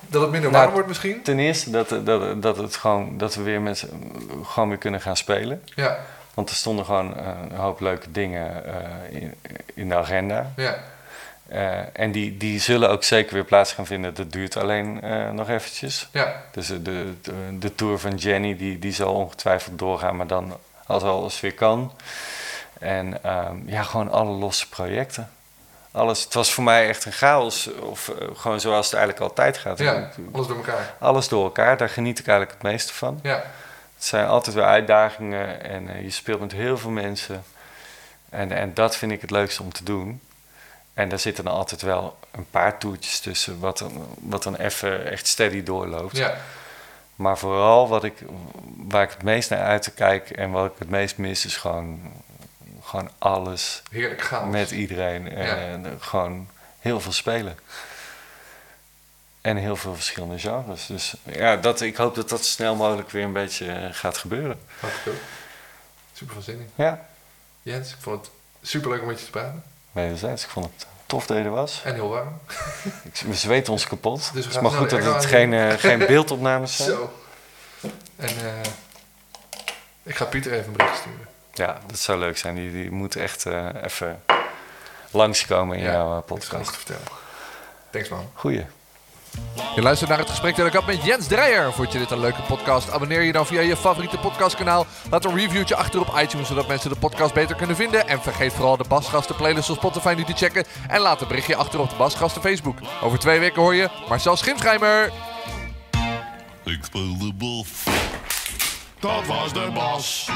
Speaker 3: dat het minder
Speaker 4: Nou,
Speaker 3: warm wordt misschien?
Speaker 4: ten eerste dat, dat, dat, het gewoon, dat we weer met z'n- gewoon weer kunnen gaan spelen.
Speaker 3: Ja,
Speaker 4: Want er stonden gewoon eh, een hoop leuke dingen eh, in, in de agenda.
Speaker 3: ja.
Speaker 4: Eh, en die, die zullen ook zeker weer plaats gaan vinden. Dat duurt alleen eh, nog eventjes.
Speaker 3: Ja,
Speaker 4: Dus eh, de, de, de tour van Jenny, die, die zal ongetwijfeld doorgaan, maar dan als alles weer kan. En ehm, ja, gewoon alle losse projecten. Alles, het was voor mij echt een chaos, of eh, gewoon zoals het eigenlijk altijd gaat.
Speaker 3: ja, alles door elkaar.
Speaker 4: Alles door elkaar, daar geniet ik eigenlijk het meeste van.
Speaker 3: Ja,
Speaker 4: Het zijn altijd weer uitdagingen en eh, je speelt met heel veel mensen. En, en dat vind ik het leukste om te doen. En daar zitten dan altijd wel een paar toertjes tussen, wat dan, wat dan even echt steady doorloopt.
Speaker 3: ja,
Speaker 4: Maar vooral wat ik, waar ik het meest naar uit kijk en wat ik het meest mis, is gewoon, gewoon alles
Speaker 3: heerlijk gaan.
Speaker 4: met iedereen. En,
Speaker 3: Ja.
Speaker 4: eh, gewoon heel veel spelen. En heel veel verschillende genres. Dus ja, dat, ik hoop dat dat zo snel mogelijk weer een beetje eh, gaat gebeuren.
Speaker 3: Hartstikke goed. Super van zin in.
Speaker 4: Ja,
Speaker 3: Jens, ik vond het super leuk om met je te praten.
Speaker 4: wederzijds. Ik vond het tof dat je er was.
Speaker 3: En heel warm.
Speaker 4: Ik- We zweten ons kapot.
Speaker 3: we
Speaker 4: Dus het is
Speaker 3: gaan
Speaker 4: maar
Speaker 3: snel
Speaker 4: goed
Speaker 3: de
Speaker 4: dat
Speaker 3: airco
Speaker 4: het
Speaker 3: aan
Speaker 4: geen, eh, geen beeldopnames zijn.
Speaker 3: Zo. En eh, ik ga Pieter even een bericht sturen.
Speaker 4: Ja, dat zou leuk zijn. Die, die moet echt eh, even langskomen in jouw eh,
Speaker 3: Ik ga het
Speaker 4: podcast.
Speaker 3: vertellen. Thanks man.
Speaker 4: Goeie.
Speaker 3: Je luistert naar het gesprek dat ik had met Jens Dreyer. Vond je dit een leuke podcast? Abonneer je dan via je favoriete podcastkanaal. Laat een reviewtje achter op iTunes, zodat mensen de podcast beter kunnen vinden. En vergeet vooral de Basgasten playlist op Spotify niet te checken. En laat een berichtje achter op de Basgasten Facebook. Over twee weken hoor je Marcel Schimschijmer.
Speaker 1: Ik speel de bof.
Speaker 2: Dat was de bas.